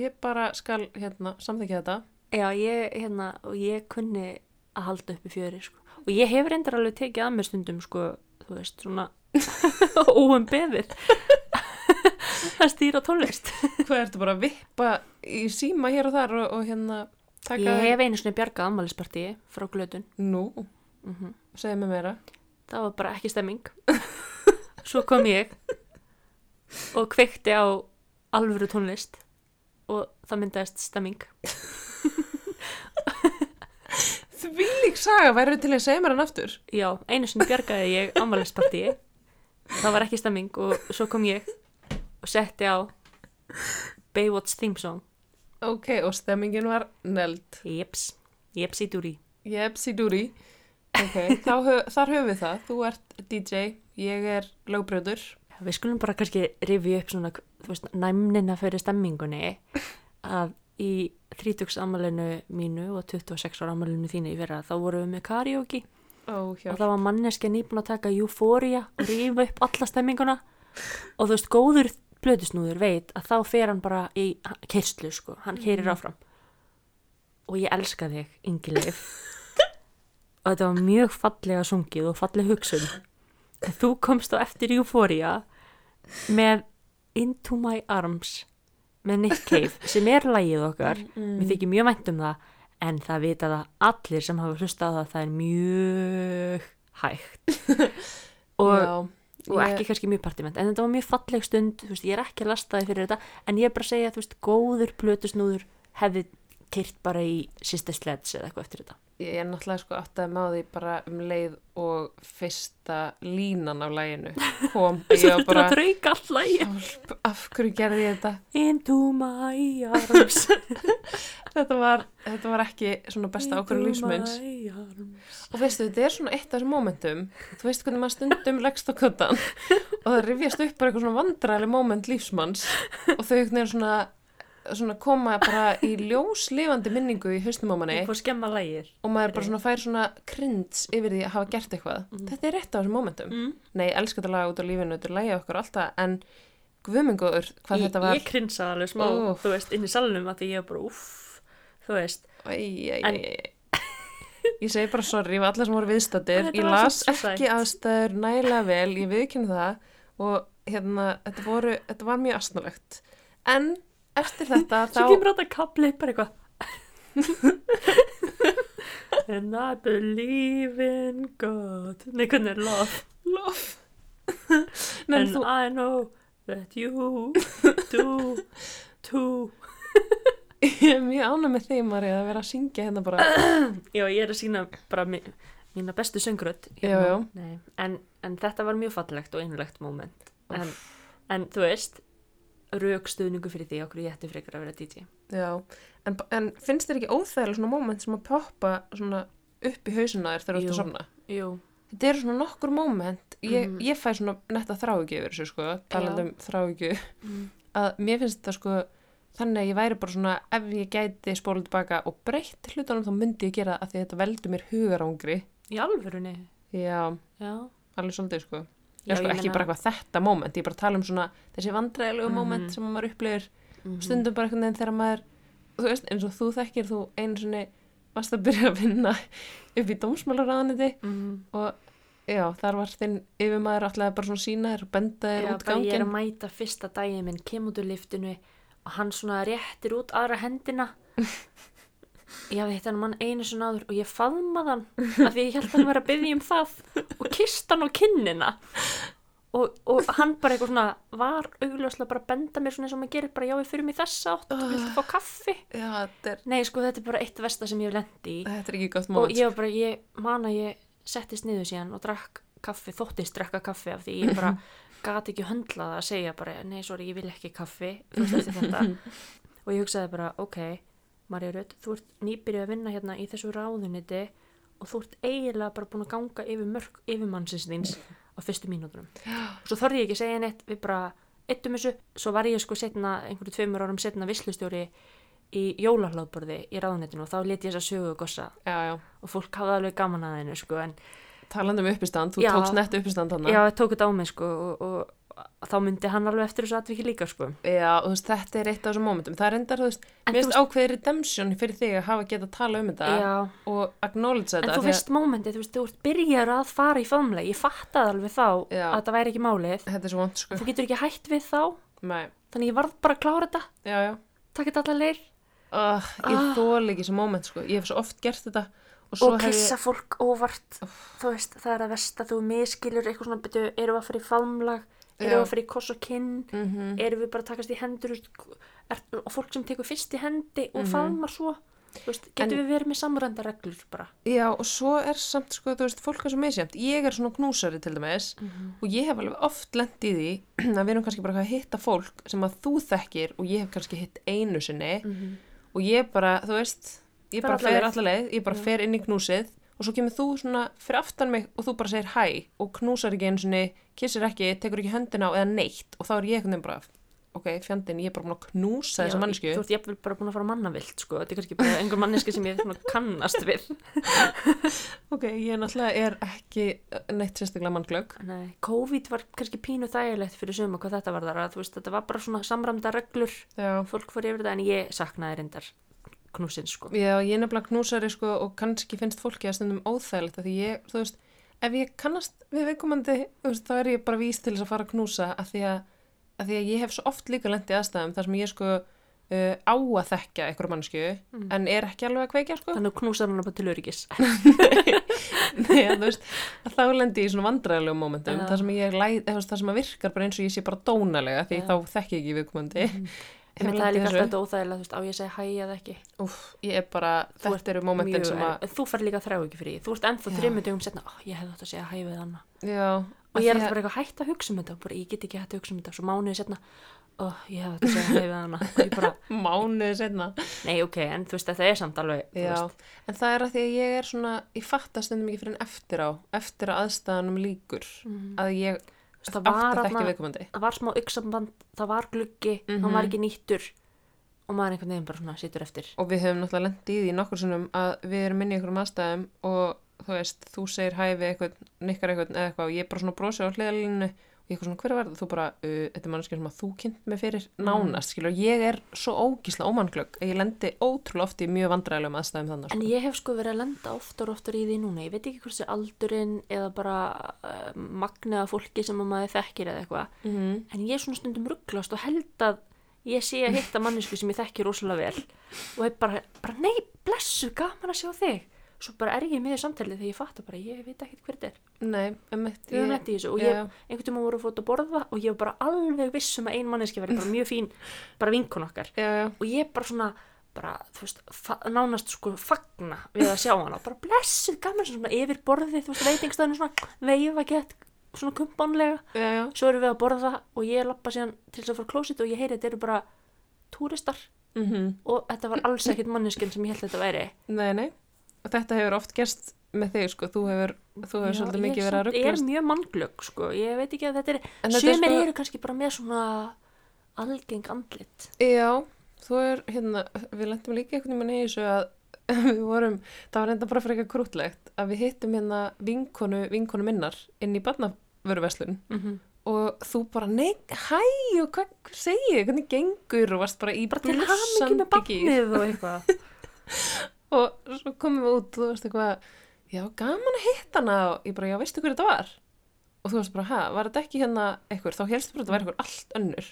Ég bara skal hérna samþykja þetta.
Já ég hérna og ég kunni að halda upp í fjöri sko og ég hef reyndar alveg tekið að mér stundum sko þú veist svona óum beðir að stýra tónlist
Hvað ertu bara að vippa í síma hér og þar og, og hérna taka...
Ég hef einu svona bjargað ammælispartíi frá glötun.
Nú,
Mhm.
segðu mér meira.
Það var bara ekki stemming. Svo kom ég og kveikti á alvöru tónlist og það myndaðist stemming.
Því lík saga, værið til að segja mér hann aftur?
Já, einu svona bjargaði ég ammælispartíi. Það var ekki stemming og svo kom ég og setti á Baywatch theme song.
Ok, og stemmingin var neld.
Jeps, jeps í dúri.
Jepsi dúri. Ok, þá, hö- þar höfum við það. Þú ert DJ, ég er lögbröður.
Við skulum bara kannski rifja upp svona, þú veist, næmnina fyrir stemmingunni að í 30 ammælinu mínu og 26 ára ammælinu þínu í fyrra þá vorum við með karaoke
Ó, hjá.
og það var manneskja nýbúin að taka eufória og rífa upp alla stemminguna og þú veist, góður blöðusnúður veit að þá fer hann bara í kyrslu, sko, hann keirir áfram og ég elska þig, Ingileif og þetta var mjög fallega sungið og falleg hugsun En þú komst á eftir eufória með Into My Arms með Nick Cave sem er lagið okkar
Mm,
mér þykir mjög vænt um það en það vita það allir sem hafa hlustað á það að það er mjög hægt og,
Já,
og
ég-
ekki kannski mjög partiment en þetta var mjög falleg stund, þú veist, ég er ekki að lasta þið fyrir þetta en ég er bara að segja, þú veist, góður plötusnúður hefði kyrt bara í Sister Sledge eða eitthvað eftir þetta
Ég er náttúrulega sko áttaði með á því bara um leið og fyrsta línan af læginu kom. og Ég
Svo
var
þurftur
bara,
að drauka allagi
"Hjálp, af hverju gerði ég þetta?
Into my arms
Þetta var, þetta var ekki svona besta ákvörðu lífsmeins. Og veistu, þetta er svona eitt af þessum momentum, þú veist hvernig maður stundum leggst á kvöldan og það rifjast upp bara eitthvað svona vandræli moment lífsmanns og þau einhvern veginn svona, svona koma bara í ljóslifandi minningu í haustum á manni
Ég fór skemma lægir
og maður bara svona fær svona krins yfir því að hafa gert eitthvað. Þetta er eitt af þessum momentum.
Mm.
Nei, ég elska þetta laga út á lífinu, þetta er lagið okkar alltaf, en guðmengur, hvað þetta
Ég
var.
krinsaði alveg smá,
Úff.
þú veist, inn í salnum að því ég var bara, uff, þú veist
Æ, æ, æ,
En-
æ. Ég segi bara sorry við alla sem voru viðstattir.
Þetta
Ég
var
las
samt svo sætt.
ekki aðstæður nægilega vel, ég viðkynna það og hérna, þetta, voru, þetta var mjög astnalegt. En eftir þetta
Svo
þá
kemur alltaf kaplið bara eitthvað. And I believe in God. Nei, hvernig er love?
lof Nei,
And
þú,
I know that you do too.
ég er mjög ánæg með þeim Marja að vera að syngja hérna bara
Já, ég er að sína bara mi- mína bestu söngrödd.
Já, já.
Nei, en, en þetta var mjög fallegt og einlegt moment. En, en þú veist, raukstuðningu fyrir því okkur ég ætti frekar að vera DJ.
Já, en, en finnst þér ekki óþægilega svona moment sem að poppa svona upp í hausuna þér þegar þú ert
Jú.
að sofna?
Jú.
Þetta eru svona nokkur moment, ég,
Mhm.
ég fæ svona netta þráhyggju yfir þessu sko, talandi
Já.
um þráhyggju,
Mm.
að mér finnst þetta sko þannig að ég væri bara svona ef ég gæti spóla tilbaka og breytt hlutunum þá myndi ég gera það af því að þetta veldur mér hugarangri.
Í alvörunni,
Já,
já.
alveg svolítið sko. Já,
Já,
sko,
ég
ekki
meina-
bara eitthvað þetta moment, ég bara tala um svona þessi vandræðilegu
Mhm.
moment sem maður upplifir
Mhm.
stundum bara einhvern veginn þegar maður þú veist, eins og þú þekkir þú einu sinni varst að byrja að vinna upp í dómsmálaráðaniti
Mhm.
og já, þar var þinn yfirmaður alltaf bara svona sína þér og benda þér
Já,
út
bara ég er að
gangin
mæta fyrsta daginn minn, kem út úr liftinu og hann svona réttir út aðra hendina. Ég hafði hitt hann mann einu svona áður og ég faðmaði hann af því ég held hann var að byggja um það og kist hann á kinnina. Og, og hann bara eitthvað svona var augljóslega bara að benda mér svona eins og maður gerir bara já við fyrir mig þessa átt og viltu fá kaffi.
já, þetta er,
Nei sko þetta er bara eitt versta sem ég hef lendi í
þetta er ekki gott
og
moment sko.
ég var bara, ég man að ég settist niður síðan og drakk kaffi, þóttist drakka kaffi af því ég bara gat ekki höndlað að segja bara, nei, sorry, ég vil ekki kaffi þú veist eftir þetta og ég hugsaði bara, ok, Marja Rödd þú ert nýbyrjuð að vinna hérna í þessu ráðuniti og þú ert eiginlega bara búin að ganga yfir mörg yfirmannsins þíns á fyrstu mínúturum og svo þorði ég ekki að segja neitt, við bara eittum þessu, svo var ég sko setna einhverju tveimur árum setna vislustjóri í jólahlaðborði í ráðunitinu og þá let ég þess að sögu gossa
já, já,
og fólk hafði alveg gaman að hennu sko en
talandi um uppistand, þú
Já.
tókst nett uppistand hann
já, ég tók þetta á mig sko og, og þá myndi hann alveg eftir þessu atviki líka sko
já, og þú veist, þetta er eitt af þessum momentum það er endar, þú veist,
En
mér
þú
finnst ákveðið redemption fyrir þig að hafa getað að tala um þetta
já,
og acknowledge þetta af
en þú
því að-
veist mómentið, þú veist, þú ert byrjar að fara í famlega, ég fattaði alveg þá
Já.
að það væri ekki málið,
þetta er svo vond, sko
þú getur ekki hætt við þá
Nei.
þannig ég varð bara að klára þetta,
já, já
takk þetta allar leir
Uh, ég
Ah.
ah. þóli ekki þessi moment sko, ég hef svo oft gert þetta og svo
og
hef
kissa
ég,
fólk óvart þú veist, það er að versta, þú miskilur eitthvað svona, betur, erum við að fara í famlag erum við
Já.
að fara í koss og kinn
mm
erum við bara að takast í hendur þú veist, er, og fólk sem tekur fyrst í hendi og faðmar svo þú veist,
Mhm.
getum
En-
við verið með samrænda reglur bara
já og svo er samt sko, þú veist, fólk er svo misjæmt, ég er svona knúsari til dæmis og ég hef alveg oft lent í því að við erum kannski bara eitthvað að hitta fólk sem að þú þekkir og ég hef kannski hitt einu sinni og ég bara, þú veist, ég
Fer
bara
alla
Mhm. fer
leið.
alla leið, ég bara fer inn í knúsið og svo kemur þú svona fyrir aftan mig og þú bara segir hæ og knúsar ekki einu sinni, kissir ekki, tekur ekki höndina á eða neitt og þá er ég einhvern veginn bara, ok, fjandinn, ég er bara búin að knúsa þessa mannsku.
þú ert jafnvel bara búin að fara mannavilt sko. þetta er kannski bara einhver manneski sem ég svona kannast við
Ok, ég náttúrulega er ekki neitt sérstaklega mannglögg.
Nei, COVID var kannski pínu þægilegt fyrir suma hvað þetta var þar að þú veist, þetta var bara svona samræmda reglur
Já.
fólk fór yfir þetta en ég saknaði reyndar knúsin sko
Já, ég er nefnilega knúsari sko og kannski finnst fólki að stundum óþægilegt af því ég, þú veist, ef ég kannast við viðkomandi, þú veist, þá er ég bara vís til þess að fara að knúsa af því að, af því að ég hef svo oft líka lent í aðstæðum þar sem ég sko uh, á að þekka einhver mannsku en er ekki alveg að kveikja sko.
Mm. þannig að knúsar hana bara til öryggis
Nei, en þú veist, að þá lendi ég í svona vandræðalegum momentum
Já.
þar sem ég læð, eða þú veist, þar sem að virkar bara eins og ég sé bara dónalega því
Já.
þá þekki ég ekki viðkomandi.
en
Hefur
það er
lent í
líka alltaf
þessu.
þetta óþægilega þú veist, á ég að segja hæ eða ekki
Úf, ég er bara,
Þú
þetta eru momentin
Mjög
sem
erfitt.
að,
En þú fær líka þrá ekki fyrir því. Þú ert ennþá
Já.
þreymur dögum setna, oh, ég hefði átt að segja hæ við hana.
já.
Og
af
ég er
því
alltaf
að-
bara eitthvað hægt að hugsa um þetta og bara ég get ekki hægt að hugsa um þetta. Svo mánuði setna, oh, ég hefði átt að segja hæ við hana. Og ég bara,
Mánuði senna.
nei ok, en þú veist þetta er samt alveg, þú
Já,
veist.
en það er að því að ég er svona, ég fatta stundum ekki fyrir en eftir á, eftir að aðstæðanum líkur, að ég
Þú veist,
átt að
Mhm. það var
þekki
þarna-
viðkomandi.
Það var smá yksamband, það var gluggi, hann
Mhm.
var ekki nýttur og maður einhvern veginn bara svona situr eftir.
Og við höfum náttúrulega lendið í því nokkur sinnum að við erum inn í einhverjum aðstæðum og þú veist, þú segir hæ við eitthvað, nikkar eitthvað eða eitthvað og ég bara svona brosi á hliðalínu og ég eitthvað svona, hver var það? Þú bara, uh, þetta er mannskið sem að þú kynnt mig fyrir
Mhm.
nánast, skilur, ég er svo ógísla ómannglögg að ég lendi ótrúlega oft í mjög vandræðilegum aðstæðum þannig.
En ég hef sko verið að lenda oftar og oftar í því núna. Ég veit ekki hvort það er aldurinn eða bara uh, magnaða fólki sem að maður þekkir eða eitthvað.
Mm -hmm.
En ég er svona stundum rugglast og held að ég sé að hitta mannesku sem ég þekki rosalega vel og ég bara, bara nei, blessu, gaman að sjá þig svo bara er ég með í samtalið þegar ég fatta bara ég veit ekkert hver þetta er,
Nei, um eitt.
við höfum lent í þessu og ég, einhvern tímann voru að fóta að borða og ég var bara alveg viss um að ein manneski verið bara mjög fín, bara vinkun okkar
Já, já,
og ég bara svona bara, þú veist, fa- nánast sko fagna við að sjá hana, bara blessuð gaman svona yfir borðið, þú veist, veitingstæðinu svona veifa gett, svona kumbanlega
já, já.
svo erum við að borða og ég lappa síðan til þess að fara klósit og ég heyri að þetta eru bara túristar
Mm
og þetta var alls ekkert manneskinn sem ég held þetta væri
Nei, nei. Og þetta hefur oft gerst með þig, sko. Þú hefur, þú hefur svolítið mikið verið að
ég er
rugglast.
mjög mannglögg sko, ég veit ekki að þetta er
En þetta er
sumir
sko-
eru kannski bara með svona algeng andlit
Já, þú er, hérna, við lendum líka einhvern veginn í þessu að við vorum, það var enda bara frekar krútlegt að við hittum hérna vinkonu, vinkonu minnar inn í barnavöruverslun
mm -hmm.
og þú bara, nei, hæ og hvað hvað segir, þið? hvernig gengur og varst bara í
bara til hamingi með
blússandi gír.
bannið og eitthvað
og svo komum við út og þú veist eitthvað, já, gaman að hitta hana og ég bara, já, veistu hver þetta var? Og þú veist bara, hæ, var þetta ekki hérna eitthvað, þá helstu bara að þetta væri eitthvað allt önnur.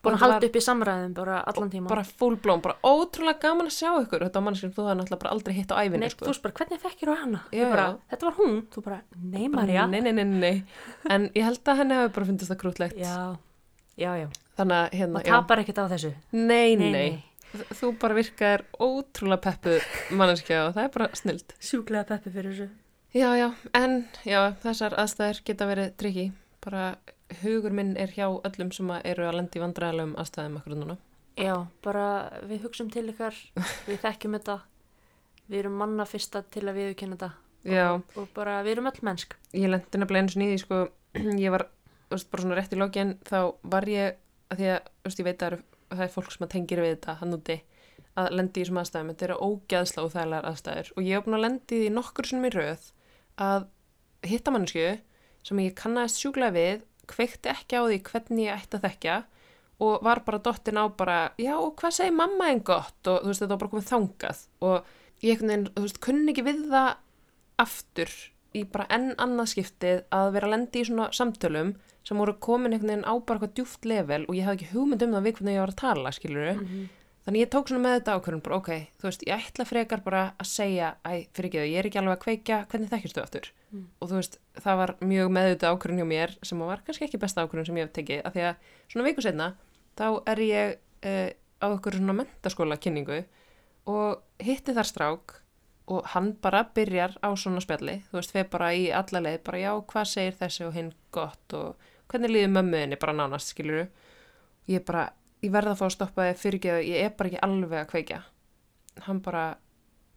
Og
búin að
þetta var-
halda upp í samræðum bara allan tíma
bara fullblóm, bara ótrúlega gaman að sjá ykkur þetta á mannskjum, þú hefði náttúrulega bara aldrei hitt á ævinni
Nei,
sko.
þú veist bara, hvernig þekkir þú hana?
Já,
Ég bara,
já.
þetta var hún, þú bara, nei Marja
nei, nei, nei, nei, nei en ég held að henni hefur bara fundist það krútlegt
Já, já, já,
þannig að hérna,
maður tapar ekkert á þessu
nei, nei,
Nei, nei.
Þ- þú bara virkar ótrúlega peppu mannskja og það er bara snild
Sjúklega peppi fyrir þessu
já, já, en já, þessar aðstæður geta verið tryggi bara hugur minn er hjá öllum sem að eru að lenda í vandræðalegum aðstæðum akkur núna
Já, bara við hugsum til ykkar, við þekkjum þetta, við erum manna fyrsta til að viðurkenna þetta
já,
og bara við erum öll mennsk.
ég lendi nefnilega einu sinni í því sko, ég var þú veist, bara svona rétt í lokin þá var ég að því að þú veist, ég veit að það eru- það er fólk sem að tengir við þetta hann úti að lendi í þessum aðstæðum þetta eru ógeðsla og þærlegar aðstæður og ég hef búin að lendi í því nokkur sinnum í röð að hitta mannsku sem ég kannast sjúklega við kveikti ekki á því hvernig ég ætti að þekkja og var bara dottin á bara já og hvað segir mamma einn gott og þú veist þetta var bara komið þangað og ég einhvern veginn, þú veist, kunni ekki við það aftur í bara enn annað skiptið að vera að lendi í svona samtölum sem voru komin einhvern veginn á bara eitthvað djúft level og ég hafði ekki hugmynd um það við hvernig ég var að tala, skilur
Mhm.
þannig ég tók svona með þetta ákvörðun bara, ok, þú veist, ég ætla frekar bara að segja, æ, fyrir ekki þau, ég er ekki alveg að kveikja hvernig þekkjast þau aftur
Mm.
og þú veist, það var mjög meðvita ákvörðun hjá mér sem var kannski ekki besta ákvörðun sem ég hef tekið, af því að svona viku setna, þá er ég uh, á ykkur svona mentaskóla kynningu og hitti þar strák og hann bara byrjar á svona spjalli, þú veist, við bara í alla leið, bara já, hvað segir þessi og hinn gott og hvernig líður mömmuðinni bara nánast, skilur ég bara, ég verða að fá að stoppa þig fyrirgeðu, ég er bara ekki alveg að kveikja hann bara,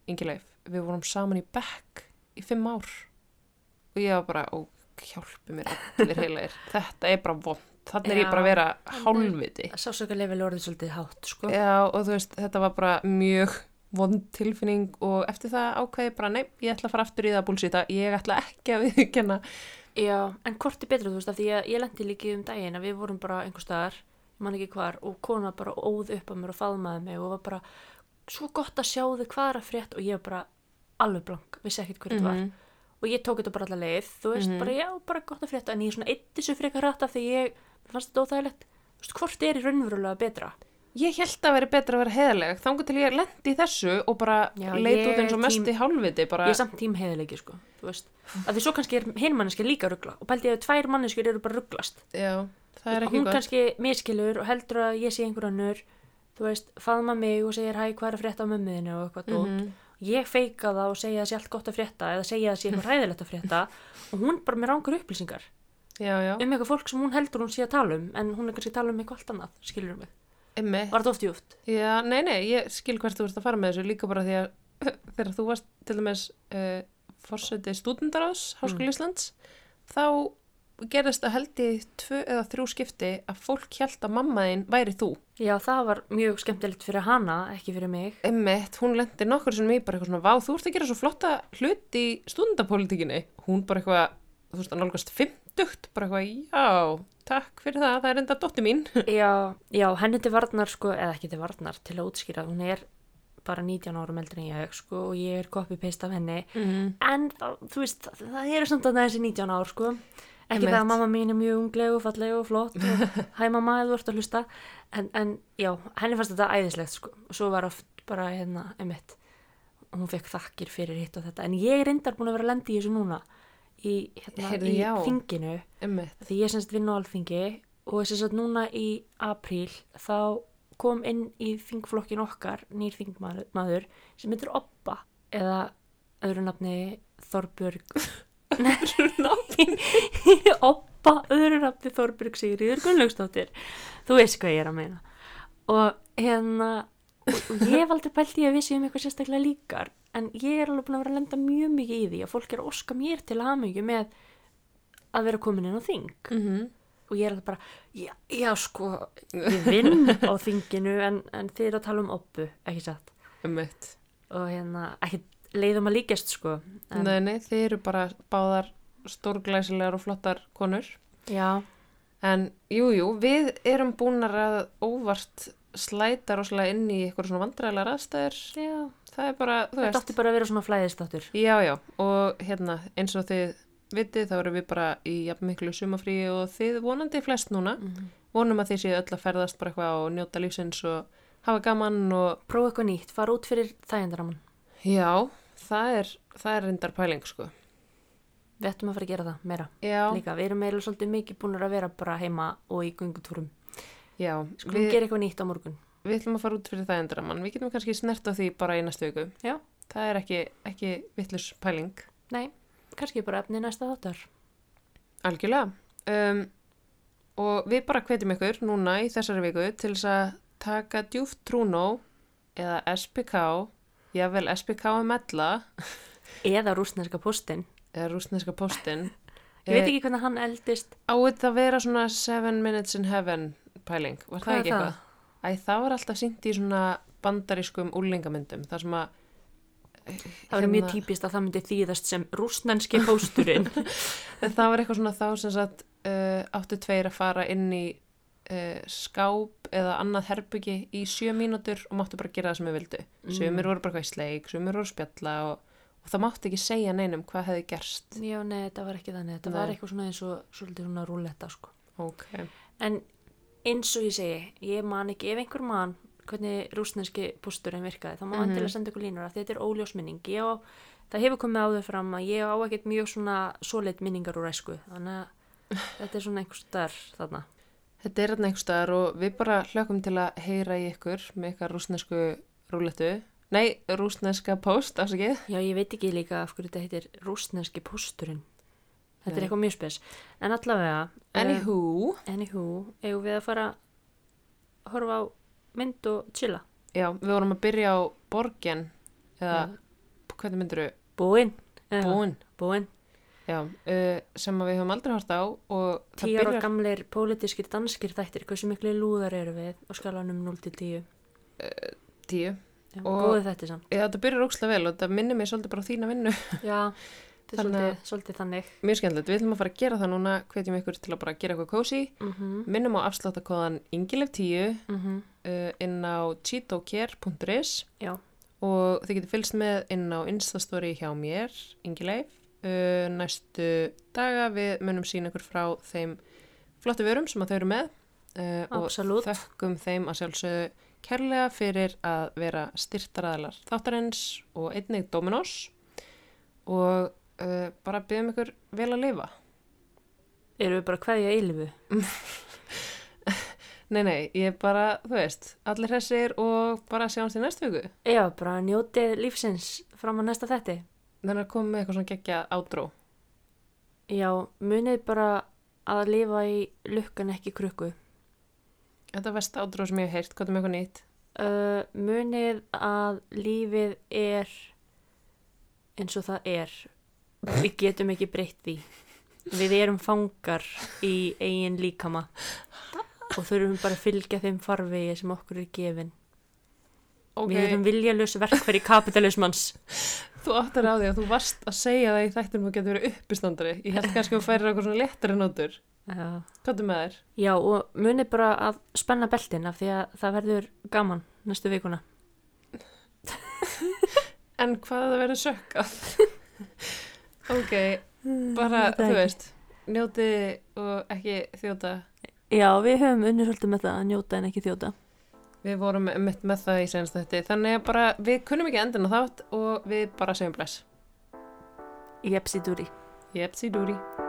yngi leif við vorum saman í bekk í fimm ár og ég var bara, ó, hjálpi mér allir heilaðir, þetta er bara vond þannig er ég bara að vera hálfviti
Sásöka level orðið svolítið hátt, sko.
Já, og þú veist, þetta var bara mjög vond tilfinning og eftir það ákveði bara, nei, ég ætla að fara aftur í það að búlsýta, ég ætla ekki að viðkenna.
Já, en hvort er betra, þú veist, af því að ég lendi líki um daginn að við vorum bara einhver staðar, ég man ekki hvar, og kona bara óð upp að mér og faðmaði mig og var bara svo gott að sjá þig hvað er að frétt og ég var bara alveg blank, vissi ekkert hver þetta var. og ég tók þetta bara alla leið þú veist, bara já, bara gott að frétta en ég svona eitt þessu frekar rætt af því ég mér fannst þetta óþægilegt, þú veist, hvort er í raunverulega betra
Ég held að veri betra að vera heðaleg, þangu til ég lendi í þessu og bara
Já,
leit
ég
út eins og
tím-
mest í hálfviti, bara,
ég er samt tím heiðilegi, sko, þú veist af því svo kannski er hinn manneskja líka að ruggla og pældi ég að tvær manneskjur eru bara að rugglast
já, það er ekki
hún
gott.
kannski miskilur og heldur að ég sé einhver annur þú veist, faðma mig og segir hæ, hvað er að frétta á mömmuðinu og eitthvað
Mhm.
mm ég feika það og segja að sé allt gott að frétta eða segja að sé eitthvað ræðilegt að frétta og hún bara með rángur upplýsingar
Já, já,
um eitthvað fólk sem hún heldur hún sé að tala um en hún er kannski að tala um eitthvað allt annað, skilur mig
emmi.
Var þetta oft djúft?
Já, nei, nei, ég skil hvert þú ert að fara með þessu líka bara því að þegar þú varst til dæmis uh, fórseti stúdendaráðs Háskóli Íslands þá gerðist að held í tvö eða þrjú skipti að fólk held að mamma þín væri þú.
Já, það var mjög skemmtilegt fyrir hana, ekki fyrir mig.
Emmett, hún lendi nokkur sem ég bara eitthvað svona, vá, þú ert að gera svo flotta hlut í stúdendapolítikinni. Hún bara eitthvað, þú veist, að nálgast fimmtugt, bara eitthvað, já, takk fyrir það, það er enda dótti mín.
Já, já, henni til varnar sko, eða ekki til varnar, til að útskýra, hún er bara 19 árum eldri en ég sko og ég er copy-paste af henni.
Mm.
En það- þú veist, það, það eru samt að þessi 19 ár sko. Ekki
Einmitt.
það að mamma mín er mjög ungleg og falleg og flott og hæ mamma eða þú ert að hlusta en, en já, henni fannst þetta æðislegt sko. og svo var oft bara hérna einmitt, hún fekk þakkir fyrir hitt og þetta en ég er reyndar búin að vera að lenda í þessu núna í, hérna,
Heyrðu,
í
já.
þinginu
Einmitt.
því ég semst vinn á alþingi og semst að núna í apríl þá kom inn í þingflokkin okkar nýr þingmaður sem heitir Oppa eða öðru nafni Þorbjörg öðru nafni Oppa öðru nafni Þorbjörg Sigriður Gunnlaugsdóttir þú veist hvað ég er að meina og hérna og og ég hef aldrei pælt í að við séum eitthvað sérstaklega líkar en ég er alveg búin að vera að lenda mjög mikið í því að fólk er að óska mér til hamingju með að vera komin inn á þing
Mm
og ég er alltaf bara, já, já sko, Mhm. ég vinn á þinginu en, en þið eru að tala um oppu, ekki satt.
Einmitt.
Og hérna, ekki leiðum að líkjast sko. En,
Nei, nei, þið eru bara báðar stórglæsilegar og flottar konur.
Já,
En jú, jú, við erum búnar að óvart slæta rosalega inn í eitthvað svona vandræðilega raðstæður.
já.
Það er bara, þú
Þetta
veist.
átti bara að vera svona flæðistáttur.
Já, já, og hérna, eins og þið vitið, þá erum við bara í jafn miklu sumafríi og þið vonandi flest núna.
Mhm.
Vonum að þið séu öll að ferðast bara eitthvað og njóta lífsins og hafa gaman og
Prófa eitthvað nýtt, fara út fyrir þægjandaraman.
já, það er, það er reyndar pæling, sko.
Við ættum að fara að gera það, meira.
Já,
Líka, við erum meira svolítið mikið búinur að vera bara heima og í göngutúrum.
já,
Skulum
við,
gera eitthvað nýtt á morgun.
við ætlum að fara út fyrir það endur að mann. Við getum kannski snert á því bara í næstu viku.
Já.
Það er ekki, ekki vittlus pæling.
Nei, kannski bara efni næsta þáttar.
Algjörlega. Um, og við bara hvetjum ykkur núna í þessari viku til þess að taka djúft trúnó eða SPK, jável SPK um ella,
Eða rúsneska postin.
eða rúsneska postin.
Ég veit ekki hvernig hann eldist.
Á þetta að vera svona 7 minutes in heaven pæling, var
Hvað
það
er
ekki
það?
eitthvað? Æ, það var alltaf sýnt í svona bandarískum úlingamyndum, þar sem að...
Það var mjög típist að það myndi þýðast sem rúsnenski pósturinn.
En það var eitthvað svona þá sem sagt uh, áttu tveir að fara inn í uh, skáp eða annað herbyggi í sjö mínútur og máttu bara gera það sem þau vildu. Sumir voru bara hvað í sleik, sumir voru að spjalla og, og það máttu ekki segja neinum hvað hefði gerst.
Já, nei, þetta var ekki þannig. Þetta
Nei.
var eitthvað svona eins og svolítið svona rúletta, sko.
Ok.
En eins og ég segi, ég man ekki, ef einhver man hvernig rúsneski bústurinn virkaði, þá má hann til að senda ykkur línur að þetta er óljósminning. Ég á, það hefur komið áður fram að ég á ekkert mjög svona solid minningar úr æsku, þannig að þetta er svona einhvers starf þarna.
Þetta er þarna einhver staðar og við bara hlökkum til að heyra í ykkur með ykkar rúsnesku rúletu. Nei, rúsneska post, afsakið.
Já, ég veit ekki líka af hverju þetta heitir rúsneski pósturinn. Þetta er
Nei.
eitthvað mjög spes. En allavega... eh,
Anywho.
Anywho, eigum við að fara að horfa á mynd og chilla.
Eh, Já, við vorum að byrja á borgin eða hvernig myndir við?
Búinn. eða hvað?
Búin.
Búinn.
Já, uh, sem að við höfum aldrei hort á og það
Tíjar og
byrjar,
gamleir pólitískir danskir þættir, hversu miklu lúðar eru við og skalanum 0 til 10.
tíu.
Já,
Og-
Góðu þetta samt.
Já, það byrjar ókslega vel og það minnir mig svolítið bara á þína vinnu.
Já, þetta er
Þannig að-
svolítið, svolítið þannig.
Mjög skemmtilegt, við ætlum að fara að gera það núna, hvetjum ykkur til að bara gera eitthvað kósi.
Mm -hmm,
Minnum á afsláttakóðan ingilef10 uh, inn á cheatocare.is
Já,
og þið getur fylgst með inn á instastory hjá mér, Ingileif uh, næstu daga við munum sína ykkur frá þeim flottu vörum sem að þau eru með uh, og
absolutt.
þökkum þeim að sjálfsögðu kærlega fyrir að vera styrtaraðalar þáttarins og einnig Dominos og uh, bara byggjum ykkur vel að lifa
Eru við bara hverja eilifu?
Nei, nei, ég bara, þú veist, allir hressir og bara sjáumst í næstu viku
Já, bara njótið lífsins fram á næsta þetti.
þannig að koma með eitthvað svona geggjað átró
Já, munið bara að lifa í lukkan ekki krukku.
Þetta er vest átró sem ég hef heyrt, hvað er með eitthvað nýtt?
uh, munið að lífið er eins og það er við getum ekki breytt því við erum fangar í eigin líkama og þurfum bara að fylgja þeim farvegi sem okkur er gefin
Ok.
við erum viljalös verkfæri kapitalismans
Þú áttar á því að þú varst að segja það í þættinum og getur verið uppistandari. Ég held kannski að þú færir eitthvað svona léttari nótur.
uh,
Hvað er með þér?
já og munið bara að spenna beltin af því að það verður gaman næstu vikuna
En hvað að það verður sökkað? ok, bara, þú
veit það ekki.
Mm, veist, njótiði og ekki þjóta.
Já, við höfum unnið svolítið með það að njóta en ekki þjóta.
Við vorum mitt með það í senast þetta. Þannig að bara við kunnum ekki endina þátt og við bara segjum bless.
Jepsi dúri.
Jepsi dúri.